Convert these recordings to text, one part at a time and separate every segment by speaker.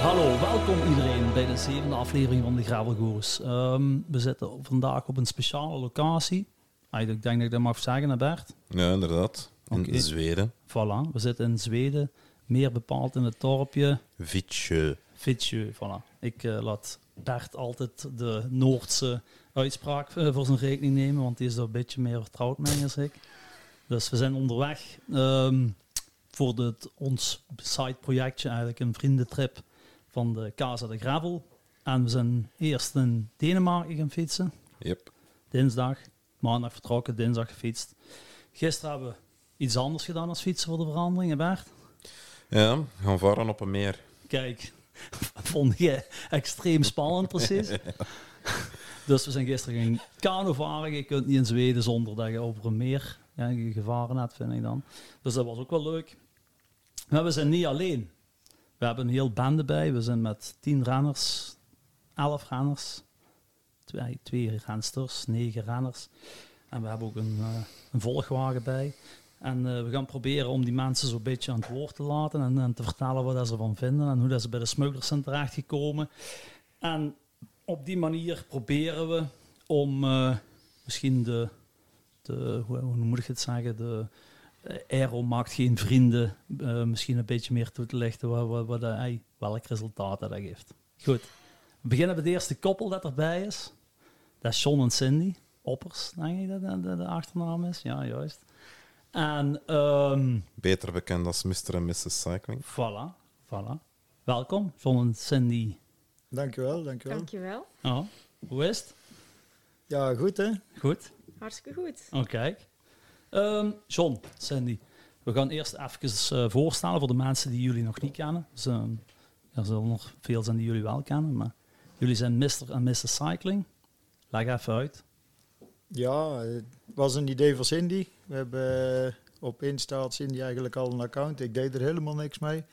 Speaker 1: Hallo, welkom iedereen bij de zevende aflevering van de Gravelgoers. Ehm, we zitten vandaag op een speciale locatie. Ah, ik denk dat ik dat mag zeggen, hè Bert.
Speaker 2: Ja, inderdaad. In
Speaker 1: Oké.
Speaker 2: Zweden.
Speaker 1: Voilà, we zitten in Zweden, meer bepaald in het dorpje
Speaker 2: Vitsjö.
Speaker 1: Fitsjö. Voilà. Ik eh, laat Bert altijd de Noordse uitspraak eh, voor zijn rekening nemen, want die is er een beetje meer vertrouwd mee als ik. Dus we zijn onderweg ehm, voor dit, ons side-projectje, eigenlijk een vriendentrip van de Casa de Gravel. En we zijn eerst in Denemarken gaan fietsen,
Speaker 2: Yep.
Speaker 1: dinsdag. Maandag vertrokken, dinsdag gefietst. Gisteren hebben we iets anders gedaan als fietsen voor de verandering, hè Bert?
Speaker 2: Ja, gaan varen op een meer.
Speaker 1: Kijk, vond je extreem spannend precies. dus we zijn gisteren gaan kano varen. Je kunt niet in Zweden zonder dat je over een meer ja, je gevaren hebt, vind ik dan. Dus dat was ook wel leuk. Maar we zijn niet alleen. We hebben een heel bende bij. We zijn met tien renners, elf renners, twee, twee rensters, negen renners. En we hebben ook een, eh, een volgwagen bij. En eh, we gaan proberen om die mensen zo'n beetje aan het woord te laten en, en te vertellen wat dat ze ervan vinden en hoe dat ze bij de smugglers zijn terechtgekomen. En op die manier proberen we om eh, misschien de, de hoe, hoe moet ik het zeggen, de eh, Aero maakt geen vrienden, eh, misschien een beetje meer toe te lichten wat, wat, wat, dat- hey, welk resultaat dat dat geeft. Goed, we beginnen met de eerste koppel dat erbij is. Dat is John en Cindy. Oppers, denk ik dat dat- dat de achternaam is. Ja, juist. En ehm
Speaker 2: Beter bekend als Mr. en Mrs. Cycling.
Speaker 1: voilà, voilà. Welkom, John en Cindy.
Speaker 3: Dankjewel, dankjewel.
Speaker 4: Dankjewel.
Speaker 1: Oh, hoe is het?
Speaker 3: Ja, goed hè?
Speaker 1: Goed?
Speaker 4: Hartstikke goed.
Speaker 1: Oh, kijk. Ehm, John, Cindy, we gaan eerst even eh, voorstellen voor de mensen die jullie nog niet kennen. Dus, ehm, er zullen nog veel zijn die jullie wel kennen, maar jullie zijn Mr. en Mrs. Cycling. Leg even uit.
Speaker 3: Ja, het was een idee van Cindy. We hebben eh, op Insta had Cindy eigenlijk al een account. Ik deed er helemaal niks mee.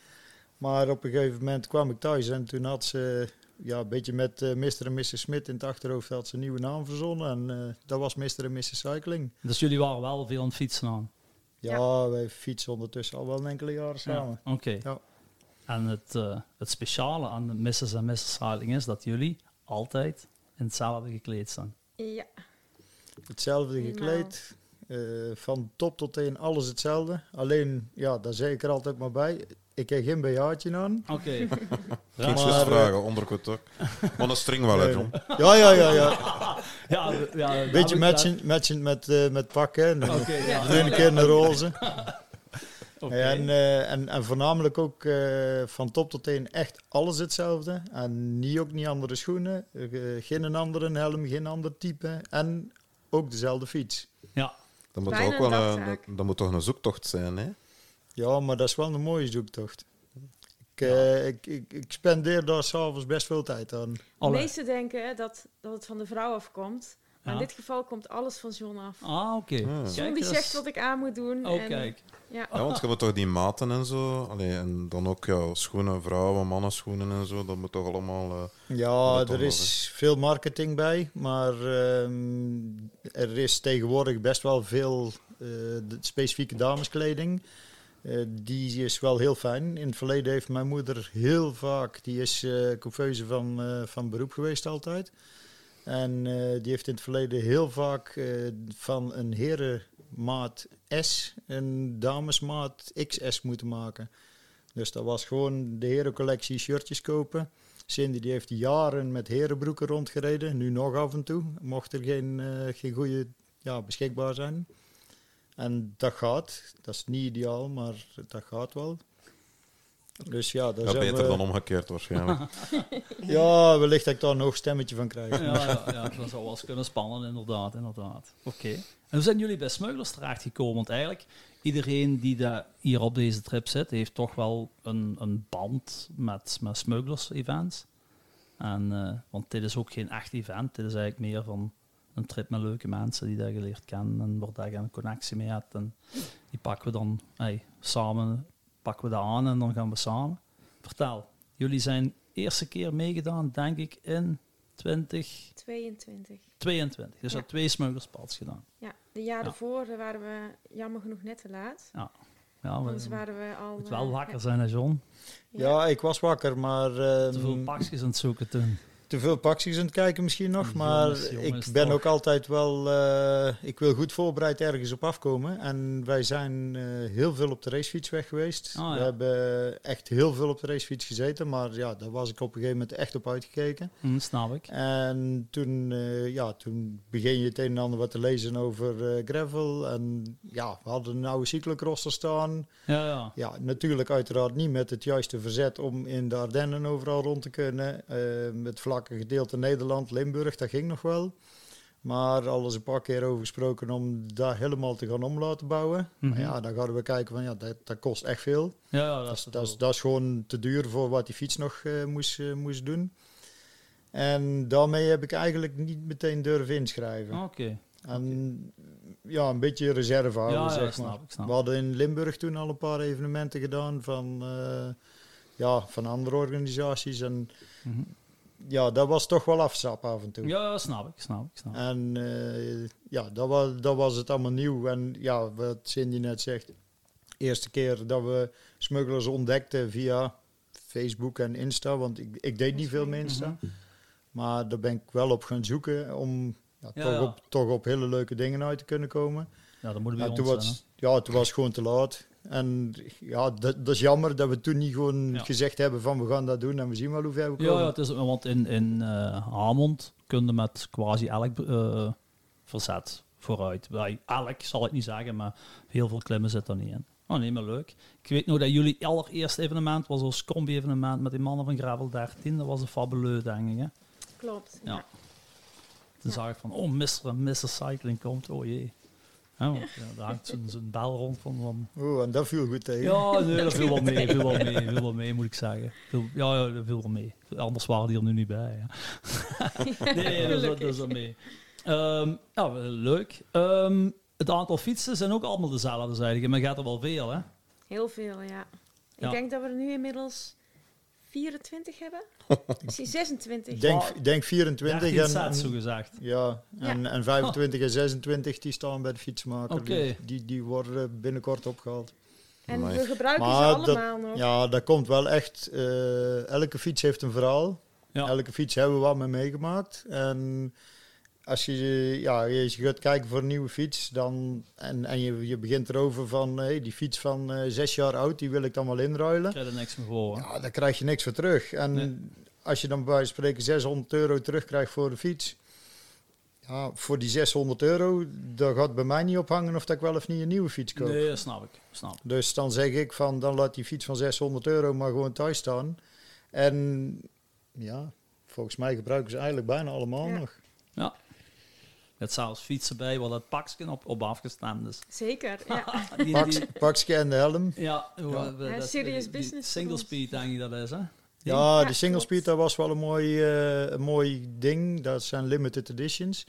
Speaker 3: Maar op een gegeven moment kwam ik thuis en toen had ze, eh, ja, een beetje met eh, Mr. en Mrs. Smit in het achterhoofd, had ze een nieuwe naam verzonnen. En eh, dat was Mr. en Mrs. Cycling.
Speaker 1: Dus jullie waren wel veel aan het fietsen aan.
Speaker 3: Ja, wij fietsen ondertussen al wel een enkele jaren samen.
Speaker 1: Ja, Oké.
Speaker 3: Ja.
Speaker 1: En het, eh, het speciale aan de Mrs. en Mrs. Heiling is dat jullie altijd in hetzelfde gekleed zijn.
Speaker 4: Ja,
Speaker 3: Hetzelfde
Speaker 4: Helemaal.
Speaker 3: gekleed. eh, van top tot teen alles hetzelfde. Alleen, ja, daar zeg ik er altijd maar bij. Ik heb geen BH'tje aan.
Speaker 1: Oké.
Speaker 2: Niks
Speaker 3: Maar,
Speaker 2: eens
Speaker 3: eh,
Speaker 2: vragen, ondergoed ook. Maar een string wel, hè, John.
Speaker 3: Ja, ja, ja, ja.
Speaker 1: ja, we- ja, we-
Speaker 3: Beetje
Speaker 1: we-
Speaker 3: matchend, matchend met, eh, met pakken.
Speaker 1: Oké,
Speaker 3: De
Speaker 1: ja.
Speaker 3: ene keer een roze.
Speaker 1: oké.
Speaker 3: En, eh, en, en voornamelijk ook eh, van top tot teen echt alles hetzelfde. En niet ook niet andere schoenen. eh, geen een andere helm, geen ander type. En ook dezelfde fiets.
Speaker 1: Ja,
Speaker 2: Dat moet,
Speaker 4: Bijna
Speaker 2: ook wel
Speaker 4: een
Speaker 2: een,
Speaker 4: dagtaak.
Speaker 2: dat, dat moet toch een zoektocht zijn, hè?
Speaker 3: Ja, maar dat is wel een mooie zoektocht. Ik, eh, ik, ik, ik spendeer daar s'avonds best veel tijd aan.
Speaker 4: de
Speaker 1: alle.
Speaker 4: meesten denken dat, dat het van de vrouw afkomt. Maar
Speaker 1: Ja.
Speaker 4: in dit geval komt alles van John af.
Speaker 1: Ah, oké.
Speaker 2: Ja.
Speaker 1: Kijk
Speaker 4: John die
Speaker 1: eens.
Speaker 4: zegt wat ik aan moet doen.
Speaker 1: Oh,
Speaker 4: en,
Speaker 1: kijk.
Speaker 4: Ja,
Speaker 2: Ja, want je moet toch die maten en zo. Allee, en dan ook ja, schoenen, vrouwen, mannen schoenen en zo. Dat moet toch allemaal... eh,
Speaker 3: Ja,
Speaker 2: Dat dan
Speaker 3: er is veel marketing bij, maar ehm, er is tegenwoordig best wel veel eh, de- specifieke dameskleding. Eh, die is wel heel fijn. In het verleden heeft mijn moeder heel vaak, die is eh coiffeuse van, eh, van beroep geweest altijd. En eh, die heeft in het verleden heel vaak eh, van een herenmaat S een damesmaat XS moeten maken. Dus dat was gewoon de herencollectie shirtjes kopen. Cindy die heeft jaren met herenbroeken rondgereden, nu nog af en toe, mocht er geen, eh, geen goede ja, beschikbaar zijn. En dat gaat, dat is niet ideaal, maar dat gaat wel. Dus ja, daar
Speaker 2: ja,
Speaker 3: zijn
Speaker 2: beter
Speaker 3: we,
Speaker 2: dan omgekeerd waarschijnlijk.
Speaker 3: Ja, wellicht dat ik daar een hoog stemmetje van krijg.
Speaker 1: Ja, ja, ja, dat zou wel eens kunnen spannen, inderdaad. inderdaad. Oké. En hoe zijn jullie bij Smugglers terechtgekomen? Want eigenlijk, iedereen die daar hier op deze trip zit, heeft toch wel een, een band met, met Smugglers-events. En, eh, want dit is ook geen echt event, dit is eigenlijk meer van een trip met leuke mensen die daar geleerd kennen en waar daar een connectie mee hebt. En die pakken we dan hey, samen, pakken we dat aan en dan gaan we samen. Vertel, jullie zijn eerste keer meegedaan, denk ik, in 20...
Speaker 4: 22.
Speaker 1: 22. Dus
Speaker 4: Ja.
Speaker 1: had twee smugglerspads gedaan.
Speaker 4: Ja, de jaar
Speaker 1: Ja.
Speaker 4: daarvoor eh, waren we jammer genoeg net te laat.
Speaker 1: Ja. Oh, Ja, maar
Speaker 4: Anders
Speaker 1: het
Speaker 4: waren we al...
Speaker 1: moet
Speaker 4: eh,
Speaker 1: wel wakker zijn, hè, John?
Speaker 4: Ja.
Speaker 3: Ja, ik was wakker, maar ehm,
Speaker 1: Te veel pakjes aan het zoeken toen.
Speaker 3: te veel pakjes aan het kijken misschien nog.
Speaker 1: Jongens,
Speaker 3: Maar
Speaker 1: jongens,
Speaker 3: ik ben
Speaker 1: toch.
Speaker 3: ook altijd wel... eh, ik wil goed voorbereid ergens op afkomen. En wij zijn eh, heel veel op de racefiets weg geweest.
Speaker 1: Oh, ja.
Speaker 3: We hebben echt heel veel op de racefiets gezeten. Maar ja, daar was ik op een gegeven moment echt op uitgekeken.
Speaker 1: Hm, snap ik.
Speaker 3: En toen, eh, ja, toen begin je het een en ander wat te lezen over eh, gravel. En ja, we hadden een oude cyclocrosser staan.
Speaker 1: Ja, ja.
Speaker 3: Ja, natuurlijk uiteraard niet met het juiste verzet om in de Ardennen overal rond te kunnen. Eh, het vlakke gedeelte Nederland, Limburg, dat ging nog wel. Maar al is een paar keer over gesproken om daar helemaal te gaan om laten bouwen.
Speaker 1: Mhm.
Speaker 3: Maar ja, dan gaan we kijken van ja, dat, dat kost echt veel.
Speaker 1: ja, ja dat
Speaker 3: Dat
Speaker 1: is
Speaker 3: is,
Speaker 1: het
Speaker 3: dat, is,
Speaker 1: wel.
Speaker 3: dat is gewoon te duur voor wat die fiets nog eh, moest, eh, moest doen. En daarmee heb ik eigenlijk niet meteen durven inschrijven.
Speaker 1: Oké.
Speaker 3: En ja, een beetje reserve houden,
Speaker 1: Ja, ja,
Speaker 3: zeg
Speaker 1: snap
Speaker 3: maar.
Speaker 1: ik, snap
Speaker 3: We hadden in Limburg toen al een paar evenementen gedaan van, eh, ja, van andere organisaties. En
Speaker 1: Mhm.
Speaker 3: ja, dat was toch wel afzap af en toe.
Speaker 1: Ja, ja, snap ik, snap ik, snap ik.
Speaker 3: En eh, ja, dat was, dat was het allemaal nieuw. En ja, wat Cindy net zegt, eerste keer dat we smugglers ontdekten via Facebook en Insta. Want ik, ik deed niet veel met Insta.
Speaker 1: Mhm.
Speaker 3: Maar daar ben ik wel op gaan zoeken om ja,
Speaker 1: Ja,
Speaker 3: toch,
Speaker 1: ja.
Speaker 3: Op, toch op hele leuke dingen uit te kunnen komen.
Speaker 1: Ja, dat moet bij
Speaker 3: Ja,
Speaker 1: ons
Speaker 3: toen,
Speaker 1: zijn, hè.
Speaker 3: was, ja, toen was het gewoon te laat. En ja, dat, dat is jammer dat we toen niet gewoon
Speaker 1: Ja.
Speaker 3: gezegd hebben van we gaan dat doen en we zien wel hoe ver we komen.
Speaker 1: Ja, ja het is, want in, in eh Hamond kun je met quasi elk eh, verzet vooruit. Bij elk zal ik niet zeggen, maar heel veel klimmen zit er niet in. Oh nee, maar leuk. Ik weet nog dat jullie allereerste evenement was ons combi-evenement met die mannen van Gravel 13. Dat was een fabuleus, denk ik. Hè?
Speaker 4: Klopt,
Speaker 1: Ja.
Speaker 4: ja.
Speaker 1: Toen
Speaker 4: Ja.
Speaker 1: zag ik van, oh, Mr. en Mrs. Cycling komt, oh jee. Hè, want, ja, daar hangt zo'n zo'n bel rond van, van
Speaker 3: Oeh, en dat viel goed tegen.
Speaker 1: ja, nee, dat viel wel mee, viel wel mee, viel wel mee, moet ik zeggen. Viel- ja, ja, dat viel wel mee. Anders waren die er nu niet bij. Ja. nee, dat is, dat is wel mee. Ehm, ja, wel leuk. Ehm, het aantal fietsen zijn ook allemaal dezelfde, zei ik. Maar gaat er wel veel, hè?
Speaker 4: Heel veel, ja.
Speaker 1: Ja.
Speaker 4: Ik denk dat we er nu inmiddels 24 hebben. Misschien 26.
Speaker 3: Ik denk, denk 24
Speaker 1: 13
Speaker 3: en,
Speaker 1: sets, zo
Speaker 3: en-
Speaker 1: gezegd.
Speaker 3: ja, en, en 25 en 26 die staan bij de fietsmaker.
Speaker 1: Oké.
Speaker 3: Die, die, die worden binnenkort opgehaald.
Speaker 4: En
Speaker 2: Amai.
Speaker 4: we gebruiken
Speaker 3: Maar
Speaker 4: ze
Speaker 3: dat-
Speaker 4: allemaal nog.
Speaker 3: Ja, dat komt wel echt. eh, elke fiets heeft een verhaal.
Speaker 1: Ja.
Speaker 3: Elke fiets hebben we wat mee meegemaakt. En als je, ja, als je gaat kijken voor een nieuwe fiets, dan, en, en je, je begint erover van hey, die fiets van eh, zes jaar oud, die wil ik dan wel inruilen.
Speaker 1: Ik krijg er niks meer voor, hè?
Speaker 3: Ja, daar krijg je niks voor terug. En
Speaker 1: Nee.
Speaker 3: als je dan bij wijze van spreken 600 euro terugkrijgt voor de fiets. Ja, voor die 600 euro, daar gaat bij mij niet op hangen of dat ik wel of niet een nieuwe fiets koop.
Speaker 1: Nee, snap ik. Snap ik.
Speaker 3: Dus dan zeg ik van, dan laat die fiets van 600 euro maar gewoon thuis staan. En ja, volgens mij gebruiken ze eigenlijk bijna allemaal
Speaker 4: Ja.
Speaker 3: nog.
Speaker 1: Ja. Het zelfs fietsen bij waar dat pakje op, op afgestemd is.
Speaker 4: Zeker, ja.
Speaker 1: Die- die-
Speaker 3: Paks, pakske en de helm.
Speaker 1: ja, hoe-
Speaker 3: Ja.
Speaker 1: we-
Speaker 4: Ja,
Speaker 1: dat-
Speaker 4: serious
Speaker 1: die- die
Speaker 4: business voor
Speaker 1: Single
Speaker 4: ons.
Speaker 1: speed, denk ik dat is, hè?
Speaker 3: Ja,
Speaker 4: Ja,
Speaker 3: de single
Speaker 4: klopt.
Speaker 3: speed, dat was wel een mooi, eh, een mooi ding. Dat zijn limited editions.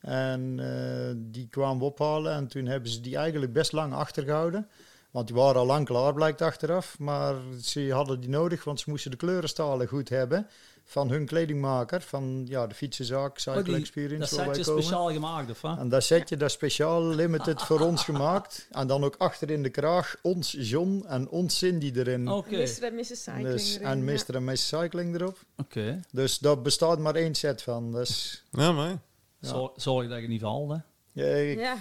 Speaker 3: En eh, die kwamen we ophalen en toen hebben ze die eigenlijk best lang achtergehouden. Want die waren al lang klaar, blijkt achteraf. Maar ze hadden die nodig, want ze moesten de kleurenstalen goed hebben. Van hun kledingmaker, van ja, de fietsenzaak, Cycle
Speaker 1: Oh, die- Dat
Speaker 3: Experience. waar wij
Speaker 1: setje
Speaker 3: komen.
Speaker 1: speciaal gemaakt, of wat?
Speaker 3: En dat setje, dat is speciaal limited voor ons gemaakt. En dan ook achter in de kraag ons John en ons Cindy erin.
Speaker 1: Oké,
Speaker 4: Mr. en Mrs. Cycling
Speaker 3: dus,
Speaker 4: erin,
Speaker 3: en
Speaker 4: ja.
Speaker 3: Mr. en Mrs. Cycling erop.
Speaker 1: oké.
Speaker 3: Dus daar bestaat maar één set van. Dus,
Speaker 2: Ja, maar.
Speaker 1: Zor- Zorg dat je niet valt, hè?
Speaker 3: ja, ik-
Speaker 4: Ja.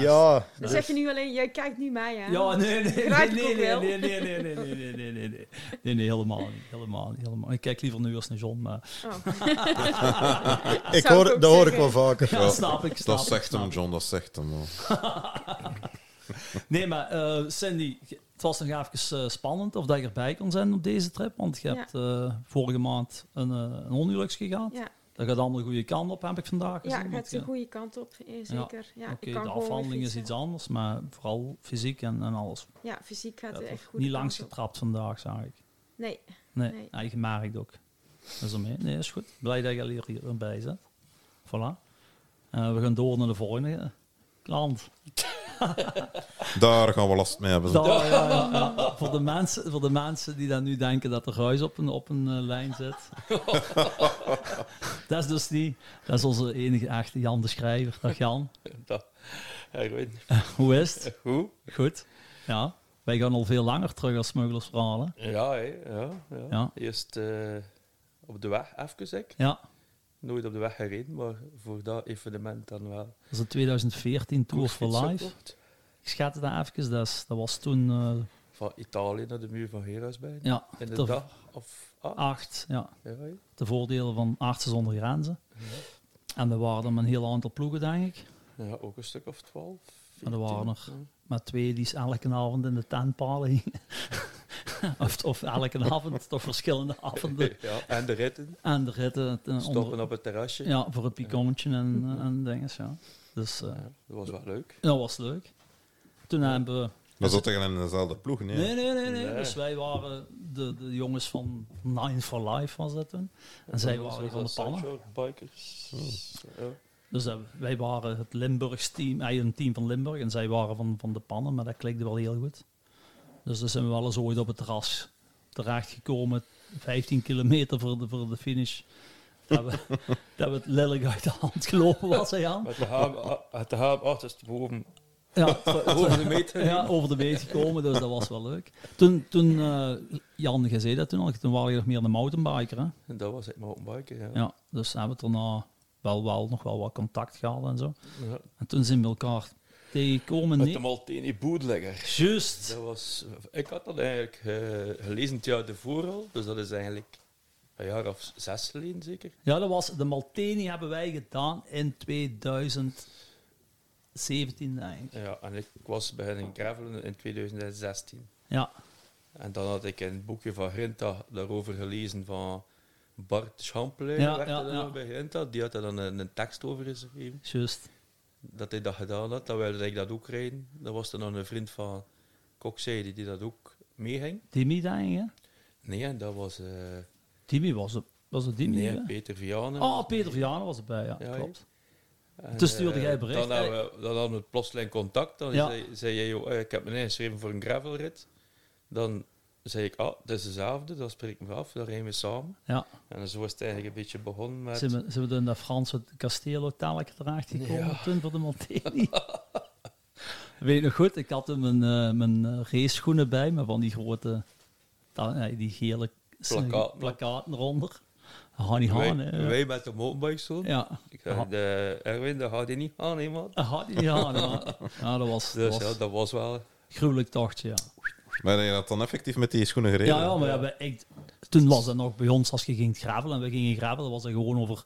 Speaker 3: ja.
Speaker 4: Dan zeg je nu alleen, jij kijkt nu mij aan.
Speaker 1: Ja, nee, nee, nee, nee,
Speaker 4: Begrijp ik
Speaker 1: nee,
Speaker 4: ook wel.
Speaker 1: nee, nee, nee, nee, nee, nee, nee, nee, nee, nee, nee, nee, helemaal niet, helemaal niet, helemaal niet. Ik kijk liever nu als naar John, maar
Speaker 4: Oh.
Speaker 3: ik
Speaker 4: Zou
Speaker 3: hoor,
Speaker 4: ik ook
Speaker 3: dat hoor ik
Speaker 4: zeggen.
Speaker 3: wel vaker.
Speaker 1: ja, snap ik, snap
Speaker 2: Dat
Speaker 1: ik,
Speaker 2: zegt
Speaker 1: snap
Speaker 2: hem,
Speaker 1: ik.
Speaker 2: John, dat zegt hem. hoor.
Speaker 1: Nee, maar eh, Cindy, het was nog even eh, spannend of dat je erbij kon zijn op deze trip, want je
Speaker 4: Ja.
Speaker 1: hebt eh, vorige maand een, eh, een ongelukje gehad.
Speaker 4: Ja,
Speaker 1: Dat gaat allemaal de goede kant op, heb ik vandaag gezien.
Speaker 4: ja
Speaker 1: want,
Speaker 4: gaat de
Speaker 1: ja,
Speaker 4: goede kant op, eh, zeker. Ja,
Speaker 1: Oké,
Speaker 4: ik kan
Speaker 1: de
Speaker 4: gewoon weer
Speaker 1: afhandeling is
Speaker 4: fietsen.
Speaker 1: iets anders, maar vooral fysiek en, en alles.
Speaker 4: Ja, fysiek gaat
Speaker 1: Ja,
Speaker 4: het
Speaker 1: toch
Speaker 4: echt goed.
Speaker 1: niet langs getrapt vandaag, zag ik.
Speaker 4: Nee,
Speaker 1: Nee,
Speaker 4: Nee.
Speaker 1: eigen gemerkt ook. Dat is ermee. Nee, is goed. Blij dat je al hier- hierbij zit. Voilà. Eh, we gaan door naar de volgende klant.
Speaker 2: Daar gaan we last mee hebben.
Speaker 1: Daar, ja, ja, ja. Voor, de mensen, voor de mensen die dan nu denken dat er ruis op een, op een eh, lijn zit. dat is dus niet. Dat is onze enige echte Jan de Schrijver. Dag Jan.
Speaker 5: Dat, ja, ik weet niet.
Speaker 1: Hoe is het?
Speaker 5: Goed.
Speaker 1: Goed. Ja. Wij gaan al veel langer terug als smuggelersverhalen.
Speaker 5: Ja, hè, ja, ja.
Speaker 1: Ja.
Speaker 5: Eerst eh, op de weg, even zeg.
Speaker 1: Ja,
Speaker 5: Nooit op de weg gereden, maar voor dat evenement dan wel.
Speaker 1: dat is in 2014 Tour for
Speaker 5: Koersfiets
Speaker 1: Life.
Speaker 5: gekocht.
Speaker 1: Ik schat het even, dat, is- dat was toen eh,
Speaker 5: Van Italië naar de muur van Gerasbein.
Speaker 1: ja,
Speaker 5: In de
Speaker 1: Tof.
Speaker 5: dag of ah,
Speaker 1: acht. Ja.
Speaker 5: Ja, hè.
Speaker 1: De voordelen van artsen zonder grenzen. En er waren er een heel aantal ploegen, denk ik.
Speaker 5: ja, ook een stuk of twaalf.
Speaker 1: Maar er waren er.
Speaker 5: veertien, ja.
Speaker 1: Maar twee die is elke avond in de tentpalen hingen. of, of elke avond, toch verschillende avonden.
Speaker 5: Ja, en de ritten.
Speaker 1: En de ritten. eh,
Speaker 5: Stoppen
Speaker 1: onder-
Speaker 5: op het terrasje. Ja.
Speaker 1: Ja, voor het picoontje en, eh, en dingen. Ja. Dus eh,
Speaker 5: Dat was wel leuk.
Speaker 1: dat was leuk. Toen hebben we...
Speaker 2: Dan zat er in dezelfde ploeg, nee?
Speaker 1: Nee, nee, nee, nee.
Speaker 5: Nee.
Speaker 1: Dus wij waren de, de jongens van Nine for Life, was dat toen. En zij
Speaker 5: dan
Speaker 1: waren
Speaker 5: was
Speaker 1: van de
Speaker 5: dat
Speaker 1: pannen.
Speaker 5: Sideshow Bikers. Ja.
Speaker 1: Dus eh, wij waren het Limburgs team, eh, een team van Limburg en zij waren van, van de pannen, maar dat klikte wel heel goed. Dus dan zijn we wel eens ooit op het terras terechtgekomen, 15 kilometer voor de, voor de finish. Dat we, dat we het lelijk uit de hand gelopen was, hè Jan?
Speaker 5: Met de haam, ah, met de haam achterst boven,
Speaker 1: Ja,
Speaker 5: boven de meter.
Speaker 1: ja, over de meet gekomen, dus dat was wel leuk. Toen, toen eh, Jan, je zei dat toen al, toen waren je nog meer een mountainbiker, hè?
Speaker 5: En dat was het mountainbiken, ja.
Speaker 1: Ja, dus hebben we daarna wel, wel nog wel wat contact gehad en zo.
Speaker 5: Ja.
Speaker 1: En toen zijn we elkaar tegengekomen.
Speaker 5: Met
Speaker 1: nee.
Speaker 5: de Maltini bootlegger.
Speaker 1: Juist.
Speaker 5: Dat was, ik had dat eigenlijk eh, gelezen het jaar ervoor al, dus dat is eigenlijk een jaar of zes geleden zeker.
Speaker 1: Ja, dat was de Malteni hebben wij gedaan in 2017, denk ik.
Speaker 5: Ja, en ik was beginnen gravelen in 2016.
Speaker 1: Ja,
Speaker 5: En dan had ik in het boekje van Grinta daarover gelezen van Bart Champlain,
Speaker 1: Ja,
Speaker 5: werkte
Speaker 1: ja,
Speaker 5: dan
Speaker 1: ja.
Speaker 5: nog bij Grinta, die had daar dan een, een tekst over geschreven.
Speaker 1: juist.
Speaker 5: Dat hij dat gedaan had, dan wilde ik dat ook rijden. Dan was er nog een vriend van Kokzijde die dat ook meeging.
Speaker 1: Timmy, denk ik, hè?
Speaker 5: Nee, en dat was... eh,
Speaker 1: Timmy was het. Was het Timmy,
Speaker 5: nee,
Speaker 1: hè?
Speaker 5: Peter Vianen.
Speaker 1: Oh, Peter Vianen was erbij, ja,
Speaker 5: Ja,
Speaker 1: klopt.
Speaker 5: En,
Speaker 1: Toen stuurde
Speaker 5: eh,
Speaker 1: jij bericht,
Speaker 5: Dan hadden we, dan hadden we plotseling contact. Dan
Speaker 1: Ja.
Speaker 5: zei, zei jij, joh, eh, ik heb me ingeschreven voor een gravelrit. Dan zei ik, ah, het is dezelfde, dan spreken we af, dan rijden we samen.
Speaker 1: Ja,
Speaker 5: En zo is het eigenlijk een beetje begonnen met...
Speaker 1: zijn we, zijn we door in dat Franse Castello telkens terecht gekomen
Speaker 5: Ja.
Speaker 1: toen voor de Malteni. Weet je nog goed, ik had hem mijn, eh, mijn eh, raceschoenen bij me, van die grote, ta- nee, die gele
Speaker 5: Plakkaten.
Speaker 1: plakkaten eronder. Hanni
Speaker 5: wij,
Speaker 1: Haan, hè?
Speaker 5: wij met de mountainbike zo.
Speaker 1: Ja.
Speaker 5: Ik zei, de, Erwin, dat gaat hij niet aan, hè, man.
Speaker 1: Aha, die- ja, ja. ja, dat was, dat
Speaker 5: Dus
Speaker 1: was
Speaker 5: ja, dat was wel...
Speaker 1: gruwelijk tochtje, ja.
Speaker 2: Maar heb je dat dan effectief met die schoenen gereden?
Speaker 1: Ja, ja, maar ja, we- ik, toen was dat nog bij ons, als je ging gravelen en we gingen gravelen, was dat gewoon over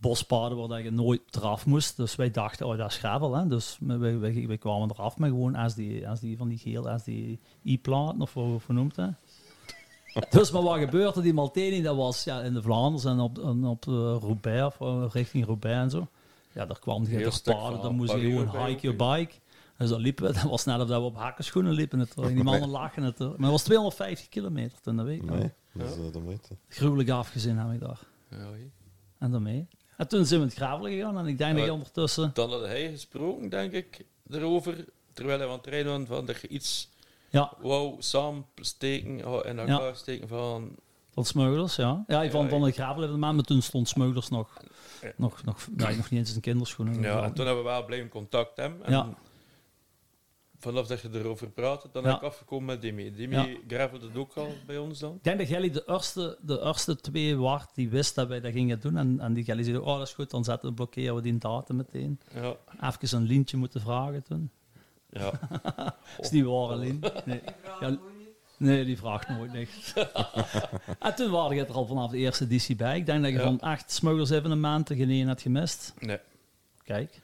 Speaker 1: bospaden waar dat je nooit eraf moest. Dus wij dachten, oh, dat is gravel, hè. Dus we- we we- we kwamen eraf met gewoon als die, als die van die geel, als die i-plaat, of wat we vernoemd, hè. Dus maar wat gebeurde die Malteni? Dat was ja, in de Vlaanders en op, en op eh, Roubaix, of, eh, richting Roubaix en zo. Ja, daar kwam
Speaker 5: Heel
Speaker 1: je toch
Speaker 5: stuk
Speaker 1: paarden,
Speaker 5: van
Speaker 1: dan moest je
Speaker 5: Parijs
Speaker 1: gewoon
Speaker 5: Roubaix
Speaker 1: hike your
Speaker 5: ook,
Speaker 1: bike. Dus dan liepen we, dat was net of dat we op hakkenschoenen liepen. Het, en die mannen lachen het. hoor. Maar dat was 250 kilometer toen, dat weet ik nog.
Speaker 2: Nee, dat is eh, de moeite.
Speaker 1: Gruwelijk afgezien heb ik daar.
Speaker 5: Ja, hè.
Speaker 1: En daarmee. En toen zijn we het gravelen gegaan en ik denk dat ik
Speaker 5: Ja.
Speaker 1: ondertussen...
Speaker 5: Dan had hij gesproken, denk ik, erover. Terwijl hij aan het rijden was, van er iets
Speaker 1: Ja,
Speaker 5: wou samen steken, oh, in elkaar steken van...
Speaker 1: van Smeulers, ja. Ja, van,
Speaker 5: Ja,
Speaker 1: van de gravelen maar maar toen stond Smeulers nog,
Speaker 5: Ja.
Speaker 1: nog, nog, nee, nog niet eens in kinderschoenen.
Speaker 5: Ja, en toen hebben we wel blijven contact hem. En
Speaker 1: Ja.
Speaker 5: Vanaf dat je erover praatte, dan
Speaker 1: Ja.
Speaker 5: heb ik afgekomen met Demi. Demi
Speaker 1: Ja.
Speaker 5: gravelde het ook al bij ons dan.
Speaker 1: Ik denk dat Gelly de eerste, de eerste twee waren die wist dat wij dat gingen doen. En, en die Gelly zei, oh dat is goed, dan zetten, blokkeren we die datum meteen.
Speaker 5: Ja.
Speaker 1: Even een lintje moeten vragen toen.
Speaker 5: ja.
Speaker 1: Is die ware Lien? Nee. Ja, nee, die vraagt nooit niks. en toen waren je er al vanaf de eerste editie bij. Ik denk dat je
Speaker 5: Ja.
Speaker 1: van acht smuggers even een maand tegen één had gemist.
Speaker 5: Nee.
Speaker 1: Kijk.